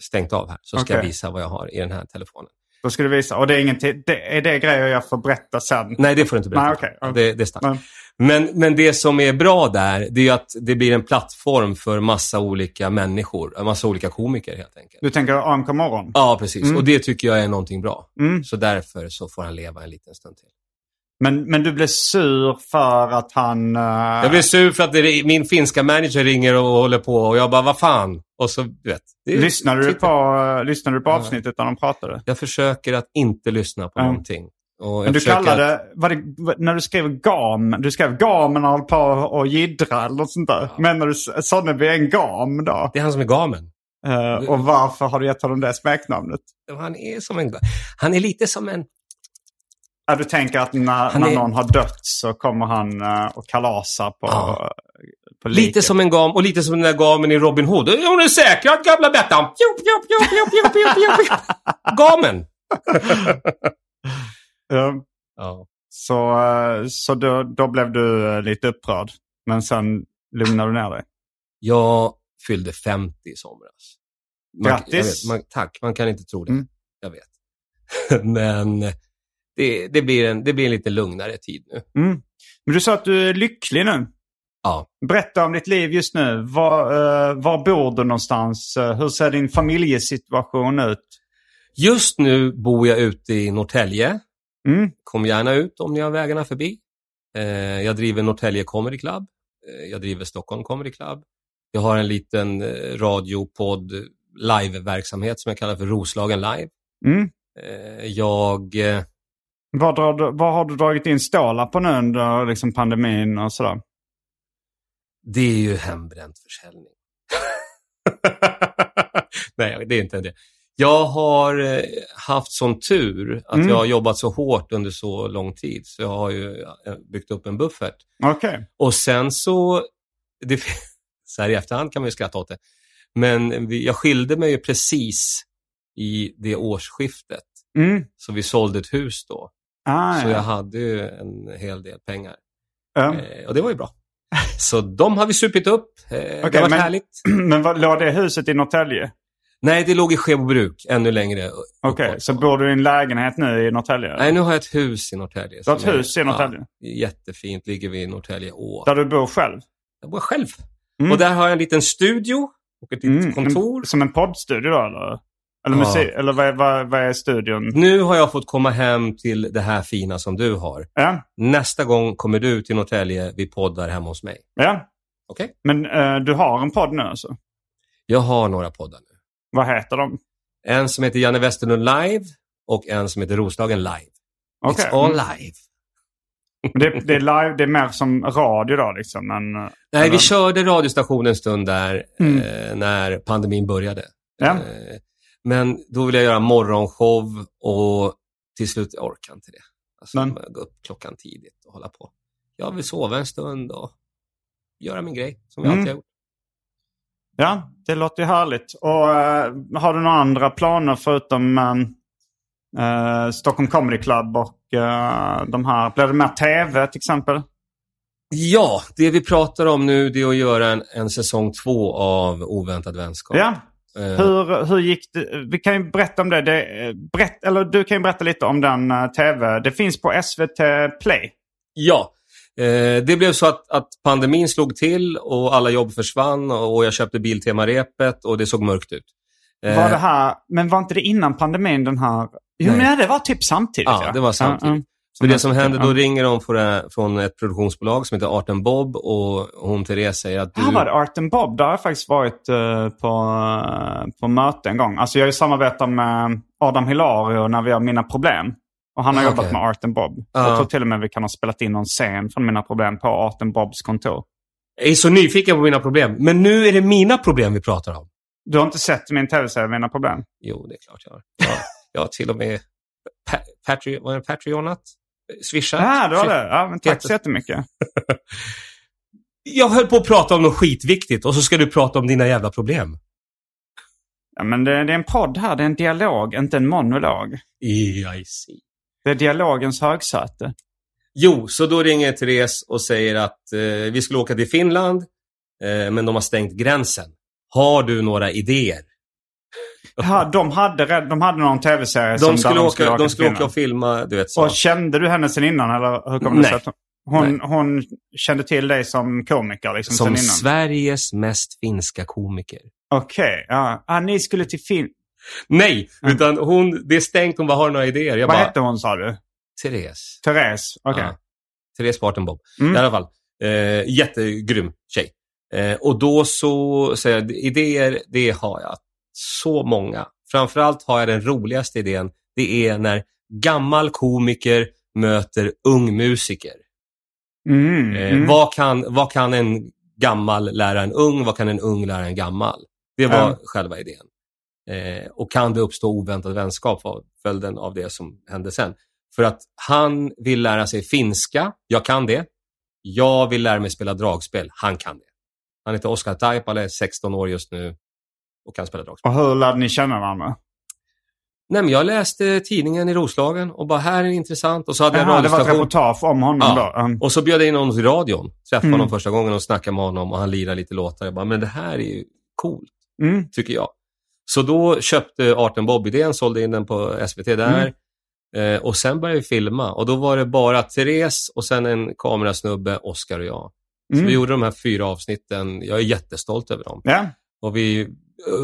[SPEAKER 2] stängt av här så ska jag
[SPEAKER 1] Okej.
[SPEAKER 2] visa vad jag har i den här telefonen.
[SPEAKER 1] Då ska du visa. Och det är, ingenting, det, är det grejer jag får berätta sen?
[SPEAKER 2] Nej, det får du inte berätta.
[SPEAKER 1] Nej, okej. Ja.
[SPEAKER 2] Det, det är starkt.
[SPEAKER 1] Men-
[SPEAKER 2] Men, men det som är bra där, det är ju att det blir en plattform för massa olika människor, en massa olika komiker helt enkelt.
[SPEAKER 1] Du tänker AMK morgon?
[SPEAKER 2] Ja, precis. Och det tycker jag är någonting bra.
[SPEAKER 1] Mm.
[SPEAKER 2] Så därför så får han leva en liten stund till.
[SPEAKER 1] Men, men du blev sur för att han... eh,
[SPEAKER 2] Jag blir sur för att det, min finska manager ringer och håller på och jag bara, vad fan? Och så, du vet. det är-
[SPEAKER 1] lyssnade, du
[SPEAKER 2] Twitter.
[SPEAKER 1] på, eh, lyssnade du på avsnittet när de pratade?
[SPEAKER 2] Jag försöker att inte lyssna på
[SPEAKER 1] Ja.
[SPEAKER 2] någonting. Och jag
[SPEAKER 1] Men du
[SPEAKER 2] försöker att-
[SPEAKER 1] kallade, var det, var- när du skrev gam, du skrev gamen håller på och jiddra eller något sånt där. Menar du S- Sonneby är en gam då?
[SPEAKER 2] Det är han som är gamen.
[SPEAKER 1] Eh, och varför har du gett honom det smeknamnet?
[SPEAKER 2] Han är, som en, han är lite som en...
[SPEAKER 1] Ja, du tänker att när,
[SPEAKER 2] Han
[SPEAKER 1] när
[SPEAKER 2] är-
[SPEAKER 1] någon har dött så kommer han eh, och kalasar på, eh,
[SPEAKER 2] Ja.
[SPEAKER 1] på liket.
[SPEAKER 2] Lite som en gam och lite som den där gamen i Robin Hood. Hon är säkrad, gamla Bettan! Pju, pju, pju, pju, pju, pju, pju, pju. Gamen!
[SPEAKER 1] Eh,
[SPEAKER 2] Ja.
[SPEAKER 1] så eh, så då, då blev du eh, lite upprörd. Men sen lugnade du ner dig.
[SPEAKER 2] Jag fyllde 50 i somras. Man,
[SPEAKER 1] Grattis.
[SPEAKER 2] jag vet, man, tack, man kan inte tro det.
[SPEAKER 1] Mm.
[SPEAKER 2] Jag vet. Men det, det, blir en, det blir en lite lugnare tid nu.
[SPEAKER 1] Mm. Men du sa att du är lycklig nu.
[SPEAKER 2] Ja.
[SPEAKER 1] Berätta om ditt liv just nu. Var, eh, var bor du någonstans? Eh, hur ser din familjesituation ut?
[SPEAKER 2] Just nu bor jag ute i Norrtälje.
[SPEAKER 1] Mm.
[SPEAKER 2] Kom gärna ut om ni har vägarna förbi. Eh, jag driver Norrtälje Comedy Club. Eh, jag driver Stockholm Comedy Club. Jag har en liten eh, radiopodd live-verksamhet som jag kallar för Roslagen Live.
[SPEAKER 1] Mm.
[SPEAKER 2] Eh, jag eh,
[SPEAKER 1] Vad, drar, du- vad har du dragit in stålar på nu under liksom pandemin och sådär?
[SPEAKER 2] Det är ju hembränt försäljning. Nej, det är inte det. Jag har eh, haft sån tur att
[SPEAKER 1] Mm.
[SPEAKER 2] jag har jobbat så hårt under så lång tid, så jag har ju eh, byggt upp en buffert.
[SPEAKER 1] Okej.
[SPEAKER 2] Och sen så, det, så här i efterhand kan man ju skratta åt det, men vi, jag skilde mig ju precis i det årsskiftet,
[SPEAKER 1] Mm.
[SPEAKER 2] så vi sålde ett hus då.
[SPEAKER 1] Ah,
[SPEAKER 2] så jag
[SPEAKER 1] ja.
[SPEAKER 2] hade ju en hel del pengar.
[SPEAKER 1] Ja.
[SPEAKER 2] Eh, och det var ju bra. Så de har vi supit upp. Eh, det
[SPEAKER 1] Okej,
[SPEAKER 2] har varit
[SPEAKER 1] men-
[SPEAKER 2] härligt.
[SPEAKER 1] Men vad, låg det huset i Norrtälje?
[SPEAKER 2] Nej, det låg i Skebobruk ännu längre.
[SPEAKER 1] Okej,
[SPEAKER 2] uppåt.
[SPEAKER 1] så bor du i en lägenhet nu i Norrtälje?
[SPEAKER 2] Nej, nu har jag ett hus i Norrtälje.
[SPEAKER 1] Du har ett
[SPEAKER 2] som är-
[SPEAKER 1] hus i Norrtälje?
[SPEAKER 2] Ja, jättefint. Ligger vid Norrtälje å.
[SPEAKER 1] Där du bor själv?
[SPEAKER 2] Jag bor själv.
[SPEAKER 1] Mm.
[SPEAKER 2] Och där har jag en liten studio och ett litet
[SPEAKER 1] Mm,
[SPEAKER 2] kontor.
[SPEAKER 1] En, som en poddstudio då eller? Eller,
[SPEAKER 2] Ja.
[SPEAKER 1] musik, eller vad, är- vad, vad är studion?
[SPEAKER 2] Nu har jag fått komma hem till det här fina som du har.
[SPEAKER 1] Ja,
[SPEAKER 2] Nästa gång kommer du till Norrtälje. Vi poddar hemma hos mig.
[SPEAKER 1] ja.
[SPEAKER 2] Okej?
[SPEAKER 1] Men eh, du har en podd nu alltså?
[SPEAKER 2] Jag har några poddar nu.
[SPEAKER 1] Vad heter de?
[SPEAKER 2] En som heter Janne Westerlund Live och en som heter Roslagen Live.
[SPEAKER 1] Okej.
[SPEAKER 2] It's all
[SPEAKER 1] Mm.
[SPEAKER 2] live.
[SPEAKER 1] Men Det, det är live, det är mer som radio då liksom. Men, eh,
[SPEAKER 2] Nej, vi
[SPEAKER 1] Eller-
[SPEAKER 2] körde radiostationen en stund där
[SPEAKER 1] Mm.
[SPEAKER 2] eh, när pandemin började.
[SPEAKER 1] Ja.
[SPEAKER 2] Eh, men då ville jag göra morgonshow och till slut jag orkade inte det. Alltså,
[SPEAKER 1] Men-
[SPEAKER 2] Gå upp klockan tidigt och hålla på. Jag vill sova en stund och göra min grej som jag
[SPEAKER 1] Mm.
[SPEAKER 2] alltid har gjort.
[SPEAKER 1] ja, det låter ju härligt. Och eh, har du några andra planer förutom eh, eh, Stockholm Comedy Club och eh, de här? Blir det mer tv till exempel?
[SPEAKER 2] Ja, det vi pratar om nu det är att göra en, en säsong två av Oväntad vänskap.
[SPEAKER 1] Ja.
[SPEAKER 2] Eh,
[SPEAKER 1] Hur, hur gick det? Vi kan ju berätta om det. det eh, berätt, eller du kan ju berätta lite om den eh, tv. Det finns på SVT Play.
[SPEAKER 2] Ja, eh, det blev så att, att pandemin slog till och alla jobb försvann och, och jag köpte Biltema-repet och det såg mörkt ut. Eh,
[SPEAKER 1] Var det här, men var inte det innan pandemin den här? Jo,
[SPEAKER 2] Nej.
[SPEAKER 1] men ja, mm. det var typ samtidigt.
[SPEAKER 2] Ja, det var samtidigt. För det som händer, då ringer de från- från ett produktionsbolag som heter Arten Bob och hon Therese säger att du...
[SPEAKER 1] Här var det Art and Bob. Där har jag faktiskt varit eh, på, eh, på möte en gång. Alltså jag har ju samarbetat med Adam Hilario när vi har Mina Problem. Och han har
[SPEAKER 2] Ah,
[SPEAKER 1] jobbat
[SPEAKER 2] okej. Ah.
[SPEAKER 1] med Art and Bob.
[SPEAKER 2] Ja.
[SPEAKER 1] Jag tror till och med vi kan ha spelat in någon scen från Mina Problem på Art and Bobs kontor.
[SPEAKER 2] Jag är så nyfiken på mina problem, men nu är det mina problem vi pratar om.
[SPEAKER 1] Du har inte sett min tv-serie Mina Problem?
[SPEAKER 2] Jo, det är klart jag har. Jag, jag har till och med pa- Patri- vad är det, Patreonat, swishat.
[SPEAKER 1] Ja, det var det. Ja, men tack
[SPEAKER 2] Jätte-
[SPEAKER 1] så jättemycket.
[SPEAKER 2] Jag höll på att prata om något skitviktigt och så ska du prata om dina jävla problem.
[SPEAKER 1] Ja, men det, det är en podd här. Det är en dialog, inte en monolog.
[SPEAKER 2] I see.
[SPEAKER 1] Det är dialogens högsäte.
[SPEAKER 2] Jo, så då ringer Therese och säger att eh, vi skulle åka till Finland, eh, men de har stängt gränsen. Har du några idéer?
[SPEAKER 1] Ja, de, hade, red- de hade någon tv-serie som
[SPEAKER 2] De skulle,
[SPEAKER 1] där
[SPEAKER 2] åka, de
[SPEAKER 1] till
[SPEAKER 2] skulle åka
[SPEAKER 1] Finland.
[SPEAKER 2] och filma, du vet så.
[SPEAKER 1] Och kände du henne sen innan? Eller hur kom det
[SPEAKER 2] Nej.
[SPEAKER 1] sig? att Hon, hon kände till dig som komiker liksom sen
[SPEAKER 2] som
[SPEAKER 1] innan?
[SPEAKER 2] Sveriges mest finska komiker.
[SPEAKER 1] Okej, ja. Ah, ni skulle till Finland.
[SPEAKER 2] Nej, utan hon, det är stängt. Hon bara, har du några idéer? Jag
[SPEAKER 1] Vad
[SPEAKER 2] bara,
[SPEAKER 1] hette hon sa du?
[SPEAKER 2] Therese.
[SPEAKER 1] Therese? Okej.
[SPEAKER 2] Ja. Therese Bartenbob.
[SPEAKER 1] Mm.
[SPEAKER 2] I alla fall, eh, jättegrym tjej. Eh, och då så säger jag, idéer, det har jag så många. Framförallt har jag den roligaste idén. Det är när gammal komiker möter ung musiker.
[SPEAKER 1] Mm,
[SPEAKER 2] Eh,
[SPEAKER 1] mm.
[SPEAKER 2] Vad, kan, vad kan en gammal lära en ung? Vad kan en ung lära en gammal? Det var
[SPEAKER 1] Ja.
[SPEAKER 2] själva idén. Eh, och kan det uppstå oväntad vänskap var följden av det som hände sen. För att han vill lära sig finska. Jag kan det. Jag vill lära mig spela dragspel. Han kan det. Han heter Oskar Taipale, är 16 år just nu och kan spela dragspel.
[SPEAKER 1] Och hur lärde ni känna varandra?
[SPEAKER 2] Nej, men jag läste tidningen i Roslagen och bara, här är det intressant. Och så hade jag
[SPEAKER 1] Jaha, det var ett
[SPEAKER 2] radiostation.
[SPEAKER 1] reportage om honom
[SPEAKER 2] Ja.
[SPEAKER 1] då. Mm.
[SPEAKER 2] Och så bjöd jag in honom till radion. Träffade
[SPEAKER 1] Mm.
[SPEAKER 2] honom första gången och snackade med honom och han lirade lite låtar. Jag bara, men det här är ju coolt,
[SPEAKER 1] Mm.
[SPEAKER 2] tycker jag. Så då köpte Arten Bob-idén, sålde in den på SVT där.
[SPEAKER 1] Mm.
[SPEAKER 2] Eh, och sen började vi filma. Och då var det bara Therese och sen en kamerasnubbe, Oscar och jag. Så
[SPEAKER 1] Mm.
[SPEAKER 2] vi gjorde de här fyra avsnitten. Jag är jättestolt över dem.
[SPEAKER 1] Ja.
[SPEAKER 2] Och vi... eh,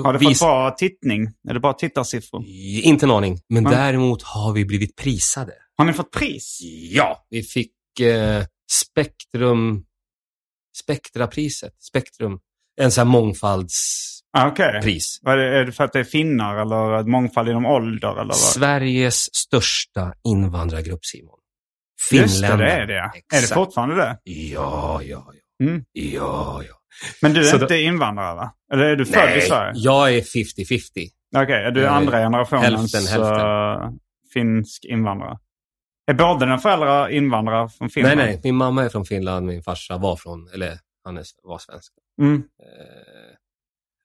[SPEAKER 1] Har du fått
[SPEAKER 2] vis-
[SPEAKER 1] bra tittning? Är det bra tittarsiffror?
[SPEAKER 2] Inte en aning. Men
[SPEAKER 1] Nej.
[SPEAKER 2] däremot har vi blivit prisade.
[SPEAKER 1] Har ni fått pris?
[SPEAKER 2] Ja, vi fick eh, Spektrum, Spektrapriset, Spektrum, en sån här mångfalds
[SPEAKER 1] Ah, Okej.
[SPEAKER 2] Pris.
[SPEAKER 1] Vad Är det är det för att det är finnar eller att mångfald inom ålder? Eller vad?
[SPEAKER 2] Sveriges största invandrargrupp, Simon.
[SPEAKER 1] Just det,
[SPEAKER 2] Finländare.
[SPEAKER 1] det är det. ja. Är det
[SPEAKER 2] Exakt.
[SPEAKER 1] fortfarande det?
[SPEAKER 2] Ja, ja, ja.
[SPEAKER 1] Mm.
[SPEAKER 2] Ja, ja.
[SPEAKER 1] Men du är
[SPEAKER 2] Så
[SPEAKER 1] inte
[SPEAKER 2] då-
[SPEAKER 1] invandrare va? Eller är du född i Sverige?
[SPEAKER 2] jag är 50-50.
[SPEAKER 1] Okej, är du
[SPEAKER 2] Jag är
[SPEAKER 1] andra generationens
[SPEAKER 2] hälften, hälften.
[SPEAKER 1] eh, finsk invandrare? Är båda dina föräldrar invandrare från
[SPEAKER 2] Nej,
[SPEAKER 1] Finland?
[SPEAKER 2] nej. Min mamma är från Finland, min farsa var från, eller han är- var svensk.
[SPEAKER 1] Mm.
[SPEAKER 2] Eh,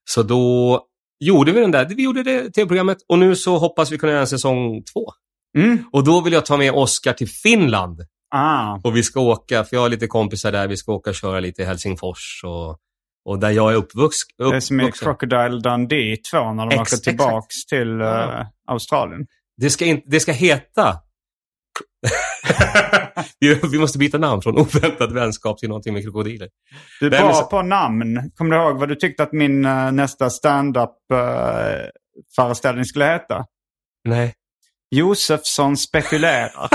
[SPEAKER 2] Så då gjorde vi den där, vi gjorde det tv-programmet och nu så hoppas vi kunna göra en säsong två.
[SPEAKER 1] Mm.
[SPEAKER 2] Och då vill jag ta med Oscar till Finland
[SPEAKER 1] Ah,
[SPEAKER 2] och vi ska åka, för jag har lite kompisar där, vi ska åka och köra lite i Helsingfors och, och där jag är uppvux,
[SPEAKER 1] det är som i
[SPEAKER 2] uppvuxen.
[SPEAKER 1] Crocodile Dundee 2 när de
[SPEAKER 2] Ex-
[SPEAKER 1] åker
[SPEAKER 2] exakt.
[SPEAKER 1] tillbaks till eh,
[SPEAKER 2] Ja.
[SPEAKER 1] Australien.
[SPEAKER 2] Det ska, in, det ska heta... vi, vi måste byta namn från oväntad vänskap till någonting med krokodiler.
[SPEAKER 1] Du är
[SPEAKER 2] Nej,
[SPEAKER 1] bra
[SPEAKER 2] men så-
[SPEAKER 1] på namn. Kommer du ihåg vad du tyckte att min eh, nästa stand-up-föreställning skulle heta?
[SPEAKER 2] Nej.
[SPEAKER 1] Josefsson spekulerar.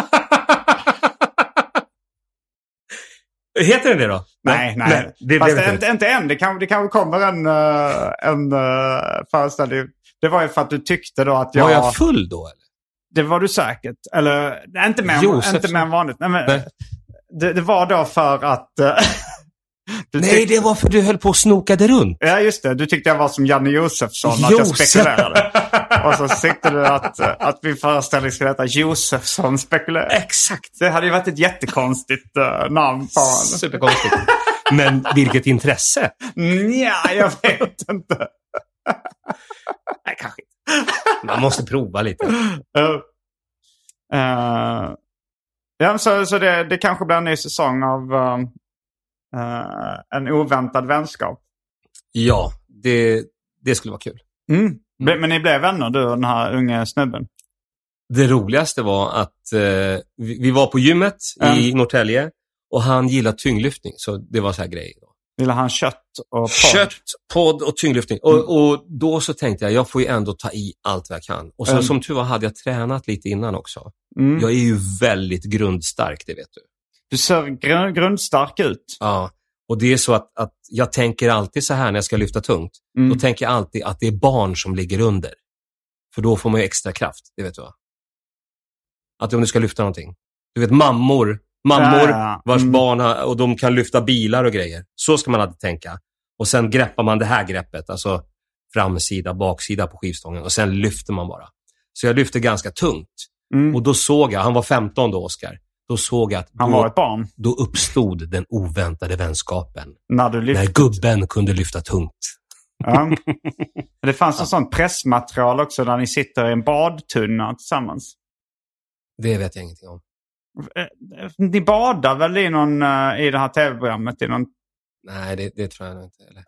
[SPEAKER 2] Heter den det då?
[SPEAKER 1] nej, nej.
[SPEAKER 2] det
[SPEAKER 1] Fast
[SPEAKER 2] blev
[SPEAKER 1] det,
[SPEAKER 2] inte
[SPEAKER 1] inte,
[SPEAKER 2] det.
[SPEAKER 1] inte än. Det kanske det kan kommer en, eh, en eh, föreställning. Det var ju för att du tyckte då att jag...
[SPEAKER 2] Var jag full då? Eller?
[SPEAKER 1] Det var du säkert. Eller nej, inte mer,
[SPEAKER 2] Josefsson.
[SPEAKER 1] inte mer än vanligt. Nej, men,
[SPEAKER 2] Nej.
[SPEAKER 1] Det, det var då för att... eh, du
[SPEAKER 2] Nej,
[SPEAKER 1] tyckte-
[SPEAKER 2] det var för du höll på och snokade runt.
[SPEAKER 1] Ja, just det. Du tyckte jag var som Janne Josefsson, att jag
[SPEAKER 2] Josef.
[SPEAKER 1] spekulerade. Och så tyckte du att, eh, att min föreställning skulle heta Josefsson spekulerar.
[SPEAKER 2] Exakt.
[SPEAKER 1] Det hade ju varit ett jättekonstigt eh, namn på honom.
[SPEAKER 2] Superkonstigt. Men vilket intresse.
[SPEAKER 1] Nja, jag vet inte.
[SPEAKER 2] Nej, kanske inte. Man måste prova lite.
[SPEAKER 1] Eh, eh, ja, men så så det, det kanske blir en ny säsong av eh, eh, En oväntad vänskap.
[SPEAKER 2] Ja, det, det skulle vara kul.
[SPEAKER 1] Mm. Ble- Men ni blev vänner du och den här unge snubben?
[SPEAKER 2] Det roligaste var att eh, vi, vi var på gymmet i Norrtälje och han gillar tyngdlyftning, så det var så här grejer. Då.
[SPEAKER 1] Ville han kött och porr?
[SPEAKER 2] Kött, podd och tyngdlyftning.
[SPEAKER 1] Mm.
[SPEAKER 2] Och, och då så tänkte jag, jag får ju ändå ta i allt vad jag kan. Och sen
[SPEAKER 1] Mm.
[SPEAKER 2] som tur var hade jag tränat lite innan också.
[SPEAKER 1] Mm.
[SPEAKER 2] Jag är ju väldigt grundstark, det vet du.
[SPEAKER 1] Du ser gr- grundstark ut.
[SPEAKER 2] Ja. Och det är så att, att jag tänker alltid så här när jag ska lyfta tungt.
[SPEAKER 1] Mm.
[SPEAKER 2] Då tänker jag alltid att det är barn som ligger under. För då får man ju extra kraft, det vet du va? Att om du ska lyfta någonting. Du vet mammor,
[SPEAKER 1] Ja,
[SPEAKER 2] mammor
[SPEAKER 1] ja.
[SPEAKER 2] vars
[SPEAKER 1] Mm.
[SPEAKER 2] barn har, och de kan lyfta bilar och grejer. Så ska man alltid tänka. Och sen greppar man det här greppet, alltså framsida, baksida på skivstången och sen lyfter man bara. Så jag lyfte ganska tungt.
[SPEAKER 1] Mm.
[SPEAKER 2] Och då såg jag, han var 15 då, Oscar. Då såg jag att
[SPEAKER 1] Han
[SPEAKER 2] då,
[SPEAKER 1] var ett barn
[SPEAKER 2] då uppstod den oväntade vänskapen.
[SPEAKER 1] när du lyfte.
[SPEAKER 2] När gubben kunde lyfta tungt.
[SPEAKER 1] Ja. Det fanns en sån pressmaterial också där ni sitter i en badtunna tillsammans.
[SPEAKER 2] Det vet jag ingenting om.
[SPEAKER 1] Eh, Ni badar väl i, någon, eh, i det här tv-programmet? I någon...
[SPEAKER 2] Nej, det, det tror jag nog inte. Eller,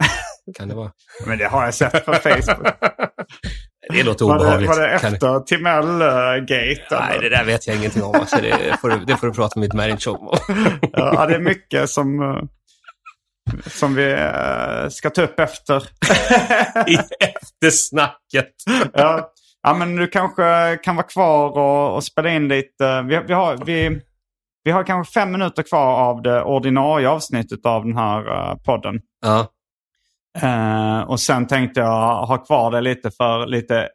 [SPEAKER 2] kan det vara?
[SPEAKER 1] Men det har jag sett på Facebook.
[SPEAKER 2] Det låter
[SPEAKER 1] var, det,
[SPEAKER 2] obehagligt.
[SPEAKER 1] var det
[SPEAKER 2] Kan-
[SPEAKER 1] efter eh, Timell-gate?
[SPEAKER 2] Nej, det där vet jag ingenting om. Alltså, det, får du, det får du prata med mitt marriage om.
[SPEAKER 1] Ja, det är mycket som, eh, som vi eh, ska ta upp efter.
[SPEAKER 2] I eftersnacket.
[SPEAKER 1] ja. ja, men du kanske kan vara kvar och, och spela in lite. Vi, vi, har, vi, vi har kanske fem minuter kvar av det ordinarie avsnittet av den här eh, podden.
[SPEAKER 2] Ja,
[SPEAKER 1] Eh, och sen tänkte jag ha kvar det lite för lite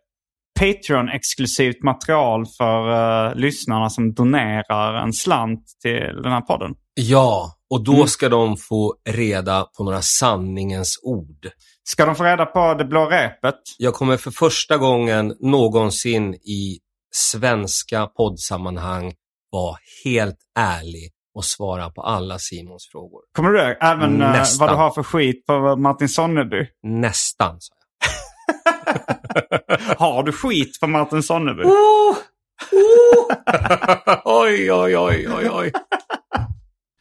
[SPEAKER 1] Patreon-exklusivt material för eh, lyssnarna som donerar en slant till den här podden.
[SPEAKER 2] ja, och då
[SPEAKER 1] Mm.
[SPEAKER 2] ska de få reda på några sanningens ord.
[SPEAKER 1] Ska de få reda på det blå repet?
[SPEAKER 2] Jag kommer för första gången någonsin i svenska poddsammanhang vara helt ärlig och svara på alla Simons frågor.
[SPEAKER 1] Kommer du ihåg? Även eh,
[SPEAKER 2] Nästan.
[SPEAKER 1] vad du har för skit på Martin Sonneby?
[SPEAKER 2] Nästan, sa jag.
[SPEAKER 1] Har du skit på Martin Sonneby?
[SPEAKER 2] Oh! oj, oj, oj, oj, oj.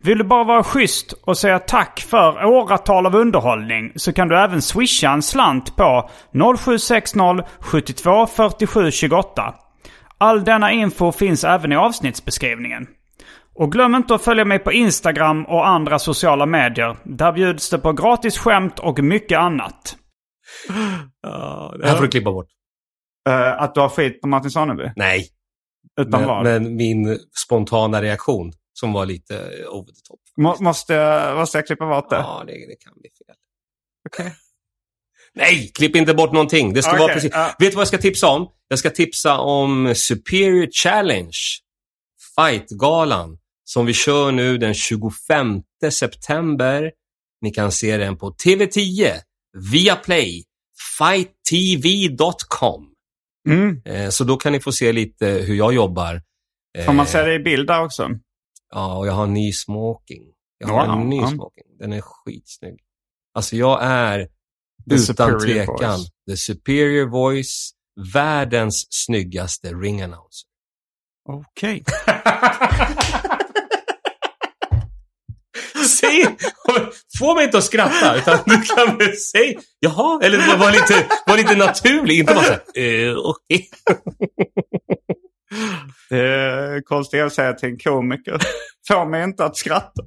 [SPEAKER 1] Vill du bara vara schysst och säga tack för åratal av underhållning så kan du även swisha en slant på 0760 72 47 28. All denna info finns även i avsnittsbeskrivningen. Och glöm inte att följa mig på Instagram och andra sociala medier. Där bjuds det på gratis skämt och mycket annat.
[SPEAKER 2] Ja, det här får du klippa bort.
[SPEAKER 1] Eh, att du har skit på Martin Sonneby?
[SPEAKER 2] Nej,
[SPEAKER 1] Utan
[SPEAKER 2] men,
[SPEAKER 1] vad?
[SPEAKER 2] men min spontana reaktion som var lite eh, over the top.
[SPEAKER 1] Må- Måste, jag- måste jag klippa bort det?
[SPEAKER 2] Ja, det, det kan bli fel. Nej, klipp inte bort någonting. Det ska
[SPEAKER 1] Okej,
[SPEAKER 2] vara precis.
[SPEAKER 1] ja.
[SPEAKER 2] Vet du vad jag ska tipsa om? Jag ska tipsa om Superior Challenge, Fight-galan, som vi kör nu den 25 september. Ni kan se den på TV10, via Play, fighttv.com.
[SPEAKER 1] Mm.
[SPEAKER 2] Eh, Så då kan ni få se lite hur jag jobbar. Eh,
[SPEAKER 1] Får man se det i bild där också?
[SPEAKER 2] Ja, och jag har en ny smoking. Jag har
[SPEAKER 1] Wow.
[SPEAKER 2] en ny
[SPEAKER 1] Ja.
[SPEAKER 2] smoking. Den är skitsnygg. Alltså jag är
[SPEAKER 1] The
[SPEAKER 2] utan
[SPEAKER 1] superior
[SPEAKER 2] tvekan
[SPEAKER 1] voice.
[SPEAKER 2] the superior voice, världens snyggaste ring announcer.
[SPEAKER 1] Okej.
[SPEAKER 2] Säg, få mig inte att skratta, utan du kan väl säga, jaha, eller var- var lite, var lite naturlig, inte bara så här, eh, okej.
[SPEAKER 1] Det Eh, är konstigt att säga till en komiker. Få mig inte att skratta.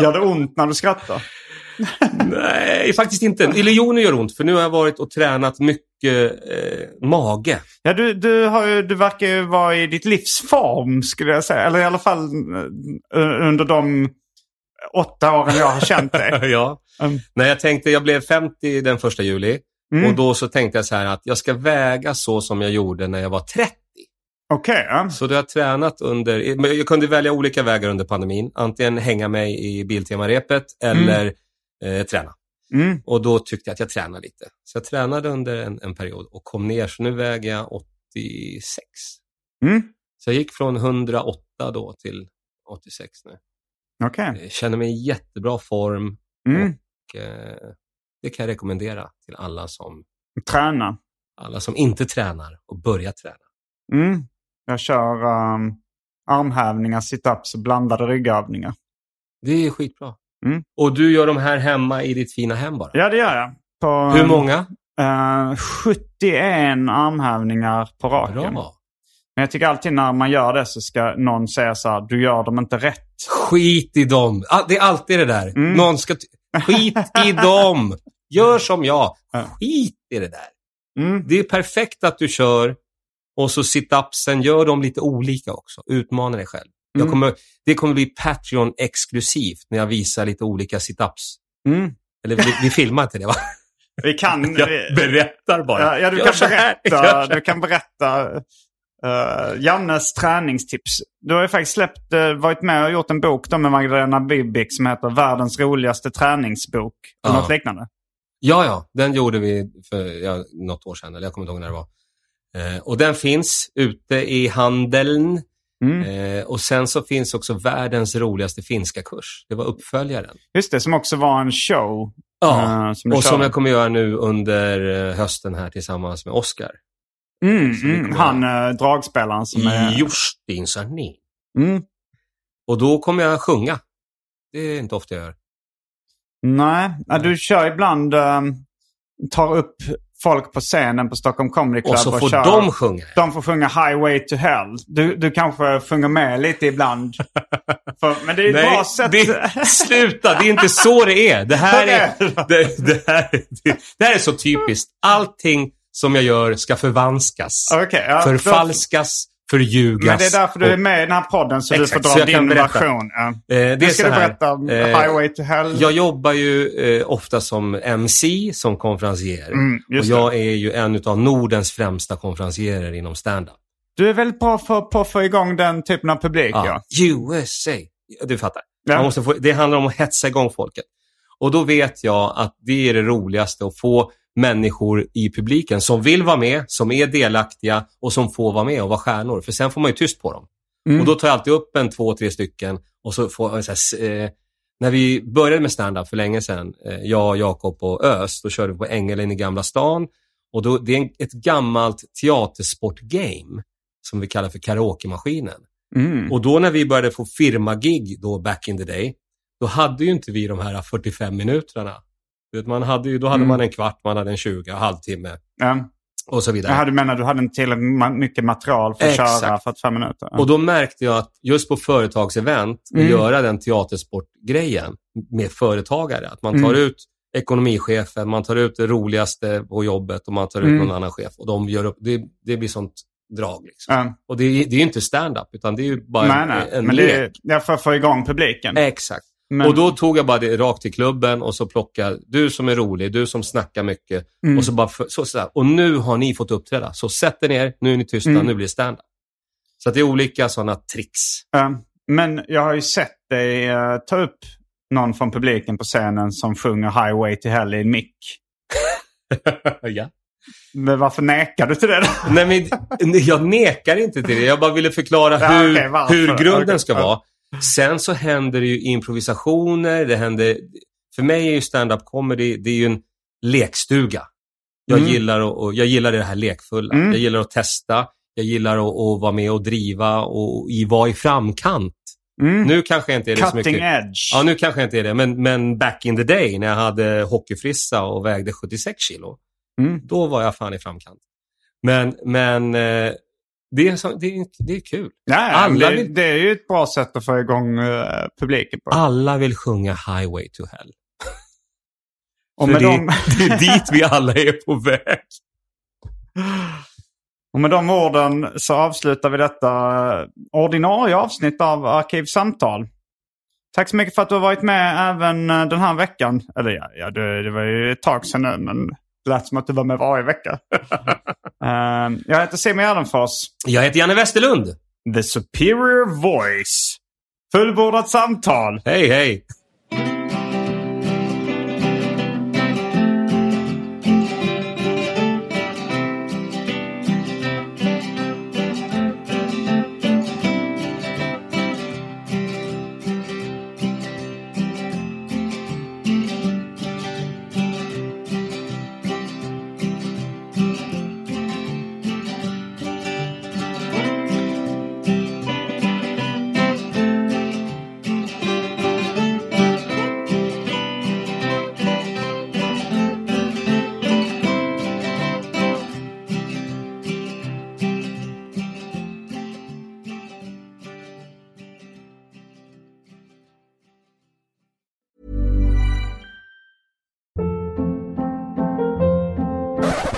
[SPEAKER 1] Gör det ont när du skrattar?
[SPEAKER 2] Nej, faktiskt inte. Illusioner gör ont, för nu har jag varit och tränat mycket eh, mage.
[SPEAKER 1] Ja, du, du, har ju, du verkar ju vara i ditt livs form skulle jag säga. Eller i alla fall eh, under de åtta åren jag har känt dig.
[SPEAKER 2] ja.
[SPEAKER 1] Mm.
[SPEAKER 2] Nej, jag tänkte, jag blev 50 den första juli.
[SPEAKER 1] Mm.
[SPEAKER 2] Och då så tänkte jag så här att jag ska väga så som jag gjorde när jag var 30.
[SPEAKER 1] Okej, ja.
[SPEAKER 2] Så då har jag tränat under, men jag kunde välja olika vägar under pandemin. Antingen hänga mig i Biltemarepet eller eh, träna.
[SPEAKER 1] Mm.
[SPEAKER 2] Och då tyckte jag att jag tränade lite. Så jag tränade under en, en period och kom ner. Så nu väger jag 86.
[SPEAKER 1] Mm.
[SPEAKER 2] Så jag gick från 108 då till 86 nu.
[SPEAKER 1] Okej.
[SPEAKER 2] Jag känner mig i jättebra form.
[SPEAKER 1] Mm.
[SPEAKER 2] Och, eh, det kan jag rekommendera till alla som,
[SPEAKER 1] Träna.
[SPEAKER 2] alla som inte tränar och börjar träna.
[SPEAKER 1] Mm. Jag kör um, armhävningar, situps och blandade ryggövningar.
[SPEAKER 2] Det är skitbra.
[SPEAKER 1] Mm.
[SPEAKER 2] Och du gör de här hemma i ditt fina hem bara?
[SPEAKER 1] Ja, det gör jag. På,
[SPEAKER 2] Hur många?
[SPEAKER 1] eh, 71 armhävningar på raken.
[SPEAKER 2] Bra.
[SPEAKER 1] Men jag tycker alltid när man gör det så ska någon säga så här, du gör dem inte rätt.
[SPEAKER 2] Skit i dem. Ah, Det är alltid det där.
[SPEAKER 1] Mm.
[SPEAKER 2] Någon ska... ty- Skit i dem. Gör som jag.
[SPEAKER 1] Ja.
[SPEAKER 2] Skit i det där.
[SPEAKER 1] Mm.
[SPEAKER 2] Det är perfekt att du kör och så sit-upsen, gör dem lite olika också. Utmana dig själv. Jag
[SPEAKER 1] Mm.
[SPEAKER 2] kommer, det kommer bli Patreon-exklusivt när jag visar lite olika sit-ups.
[SPEAKER 1] Mm.
[SPEAKER 2] Eller vi, vi filmar inte det va?
[SPEAKER 1] Vi kan...
[SPEAKER 2] Jag
[SPEAKER 1] vi-
[SPEAKER 2] berättar bara.
[SPEAKER 1] Ja, ja, du,
[SPEAKER 2] Gör
[SPEAKER 1] kan
[SPEAKER 2] så här,
[SPEAKER 1] berätta,
[SPEAKER 2] gör så här.
[SPEAKER 1] du kan berätta eh, Jannes träningstips. Du har ju faktiskt släppt, eh, varit med och gjort en bok då med Magdalena Bibic som heter Världens roligaste träningsbok. Eller
[SPEAKER 2] Ja.
[SPEAKER 1] något liknande.
[SPEAKER 2] Ja, ja. Den gjorde vi för ja, något år sedan, eller jag kommer inte ihåg när det var. Eh, och den finns ute i handeln.
[SPEAKER 1] Mm.
[SPEAKER 2] Eh, och sen så finns också världens roligaste finska kurs. Det var uppföljaren.
[SPEAKER 1] Just det, som också var en show.
[SPEAKER 2] Ja,
[SPEAKER 1] eh, som du
[SPEAKER 2] och som
[SPEAKER 1] körde.
[SPEAKER 2] jag kommer göra nu under eh, hösten här tillsammans med Oskar.
[SPEAKER 1] mm,
[SPEAKER 2] som vi
[SPEAKER 1] mm,
[SPEAKER 2] kommer-
[SPEAKER 1] han eh, dragspelaren som är...
[SPEAKER 2] Justin Sarnin.
[SPEAKER 1] Mm,
[SPEAKER 2] Och då kommer jag sjunga. Det är inte ofta jag gör.
[SPEAKER 1] nej, ja, du kör ibland, eh, tar upp folk på scenen på Stockholm Comedy Club
[SPEAKER 2] Och så får
[SPEAKER 1] kör...
[SPEAKER 2] de sjunga.
[SPEAKER 1] De får sjunga Highway to Hell. Du, du kanske sjunger med lite ibland. För, men det är ett bra sätt.
[SPEAKER 2] det, sluta! Det är inte så det är. Det här är, det, det här, det, det här är så typiskt. Allting som jag gör ska förvanskas,
[SPEAKER 1] Okej, ja, då-
[SPEAKER 2] förfalskas, förljugas.
[SPEAKER 1] Men det är därför du
[SPEAKER 2] och-
[SPEAKER 1] är med i den här podden så
[SPEAKER 2] Exakt,
[SPEAKER 1] du
[SPEAKER 2] så
[SPEAKER 1] får dra
[SPEAKER 2] jag kan
[SPEAKER 1] din
[SPEAKER 2] berätta.
[SPEAKER 1] version. Ja.
[SPEAKER 2] Eh, det
[SPEAKER 1] Nu
[SPEAKER 2] är
[SPEAKER 1] ska
[SPEAKER 2] så
[SPEAKER 1] du
[SPEAKER 2] här.
[SPEAKER 1] berätta om
[SPEAKER 2] Eh,
[SPEAKER 1] Highway to Hell.
[SPEAKER 2] Jag jobbar ju eh, ofta som MC, som konferencier.
[SPEAKER 1] Mm,
[SPEAKER 2] och
[SPEAKER 1] just
[SPEAKER 2] jag är ju en av Nordens främsta konferencierer inom stand-up.
[SPEAKER 1] Du är väldigt bra för, på att få igång den typen av publik. Ja.
[SPEAKER 2] Ja. USA. Ja, Du fattar.
[SPEAKER 1] Ja.
[SPEAKER 2] Man måste få, det handlar om att hetsa igång folket. Och då vet jag att det är det roligaste att få människor i publiken som vill vara med, som är delaktiga och som får vara med och vara stjärnor. För sen får man ju tyst på dem.
[SPEAKER 1] Mm.
[SPEAKER 2] Och då tar jag alltid upp en, två, tre stycken och så får jag så här, eh, när vi började med stand-up för länge sedan, eh, jag, Jakob och Ös, då körde vi på Ängelen i Gamla stan. Och då, det är en, ett gammalt teatersportgame som vi kallar för karaokemaskinen.
[SPEAKER 1] Mm.
[SPEAKER 2] Och då när vi började få firmagig då back in the day, då hade ju inte vi de här 45 minuterna. Du vet, Man hade ju, då hade
[SPEAKER 1] Mm.
[SPEAKER 2] man en kvart, man hade en 20, halvtimme.
[SPEAKER 1] Ja.
[SPEAKER 2] och så vidare.
[SPEAKER 1] Jaha, du menar du hade inte tillräckligt ma- mycket material för att
[SPEAKER 2] Exakt.
[SPEAKER 1] köra 45 minuter?
[SPEAKER 2] Och då märkte jag att just på företagsevent, att
[SPEAKER 1] Mm.
[SPEAKER 2] göra den teatersportgrejen med företagare. Att man tar
[SPEAKER 1] Mm.
[SPEAKER 2] ut ekonomichefen, man tar ut det roligaste på jobbet och man tar ut
[SPEAKER 1] Mm.
[SPEAKER 2] någon annan chef. Och de gör upp, det, det blir sånt drag. Liksom.
[SPEAKER 1] Ja.
[SPEAKER 2] Och det, är- det är ju inte stand-up, utan det är ju bara
[SPEAKER 1] Nej,
[SPEAKER 2] en,
[SPEAKER 1] nej.
[SPEAKER 2] en
[SPEAKER 1] Men
[SPEAKER 2] lek. Eh.
[SPEAKER 1] det är ja, för att få igång publiken.
[SPEAKER 2] Exakt.
[SPEAKER 1] Men,
[SPEAKER 2] Och då tog jag bara det rakt till klubben och så plockade, du som är rolig, du som snackar mycket.
[SPEAKER 1] Mm.
[SPEAKER 2] Och så bara, för, så, sådär. Och nu har ni fått uppträda. Så sätt er ner, nu är ni tysta,
[SPEAKER 1] Mm.
[SPEAKER 2] nu blir det stand-up. Så att det är olika sådana tricks.
[SPEAKER 1] ja. Eh, men jag har ju sett dig eh, ta upp någon från publiken på scenen som sjunger Highway to Hell i en mick.
[SPEAKER 2] ja.
[SPEAKER 1] Men varför nekar du till det då?
[SPEAKER 2] Nej, men jag nekar inte till det. Jag bara ville förklara
[SPEAKER 1] Ja,
[SPEAKER 2] hur,
[SPEAKER 1] okej, varför?
[SPEAKER 2] hur grunden
[SPEAKER 1] Okej,
[SPEAKER 2] ska
[SPEAKER 1] ja.
[SPEAKER 2] vara. Sen så händer det ju improvisationer. Det händer, för mig är ju stand-up comedy, det är ju en lekstuga. Jag,
[SPEAKER 1] Mm.
[SPEAKER 2] gillar, att, och, jag gillar det här lekfulla.
[SPEAKER 1] Mm.
[SPEAKER 2] Jag gillar att testa. Jag gillar att, att vara med och driva och, och i- vara i framkant.
[SPEAKER 1] Mm.
[SPEAKER 2] Nu kanske jag inte är det så
[SPEAKER 1] Cutting
[SPEAKER 2] mycket.
[SPEAKER 1] edge.
[SPEAKER 2] Ja, nu kanske jag inte är det, men, men back in the day när jag hade hockeyfrissa och vägde 76 kilo,
[SPEAKER 1] Mm.
[SPEAKER 2] då var jag fan i framkant. Men, men eh, det, är så, det, är, det är kul.
[SPEAKER 1] Nej,
[SPEAKER 2] Alla
[SPEAKER 1] det,
[SPEAKER 2] vill-
[SPEAKER 1] det är ju ett bra sätt att få igång eh, publiken på.
[SPEAKER 2] Alla vill sjunga Highway to Hell.
[SPEAKER 1] och,
[SPEAKER 2] För
[SPEAKER 1] med
[SPEAKER 2] det,
[SPEAKER 1] de,
[SPEAKER 2] det är dit vi alla är på väg.
[SPEAKER 1] och med de orden så avslutar vi detta ordinarie avsnitt av Arkivsamtal. Tack så mycket för att du har varit med även eh, den här veckan. Eller ja, ja det, det var ju ett tag sedan nu, men det lät som att du var med varje vecka. Eh, jag heter Simon Gärdenfors.
[SPEAKER 2] Jag heter Janne Westerlund.
[SPEAKER 1] The Superior Voice. Fullbordat samtal.
[SPEAKER 2] Hej, hej.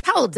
[SPEAKER 5] Hold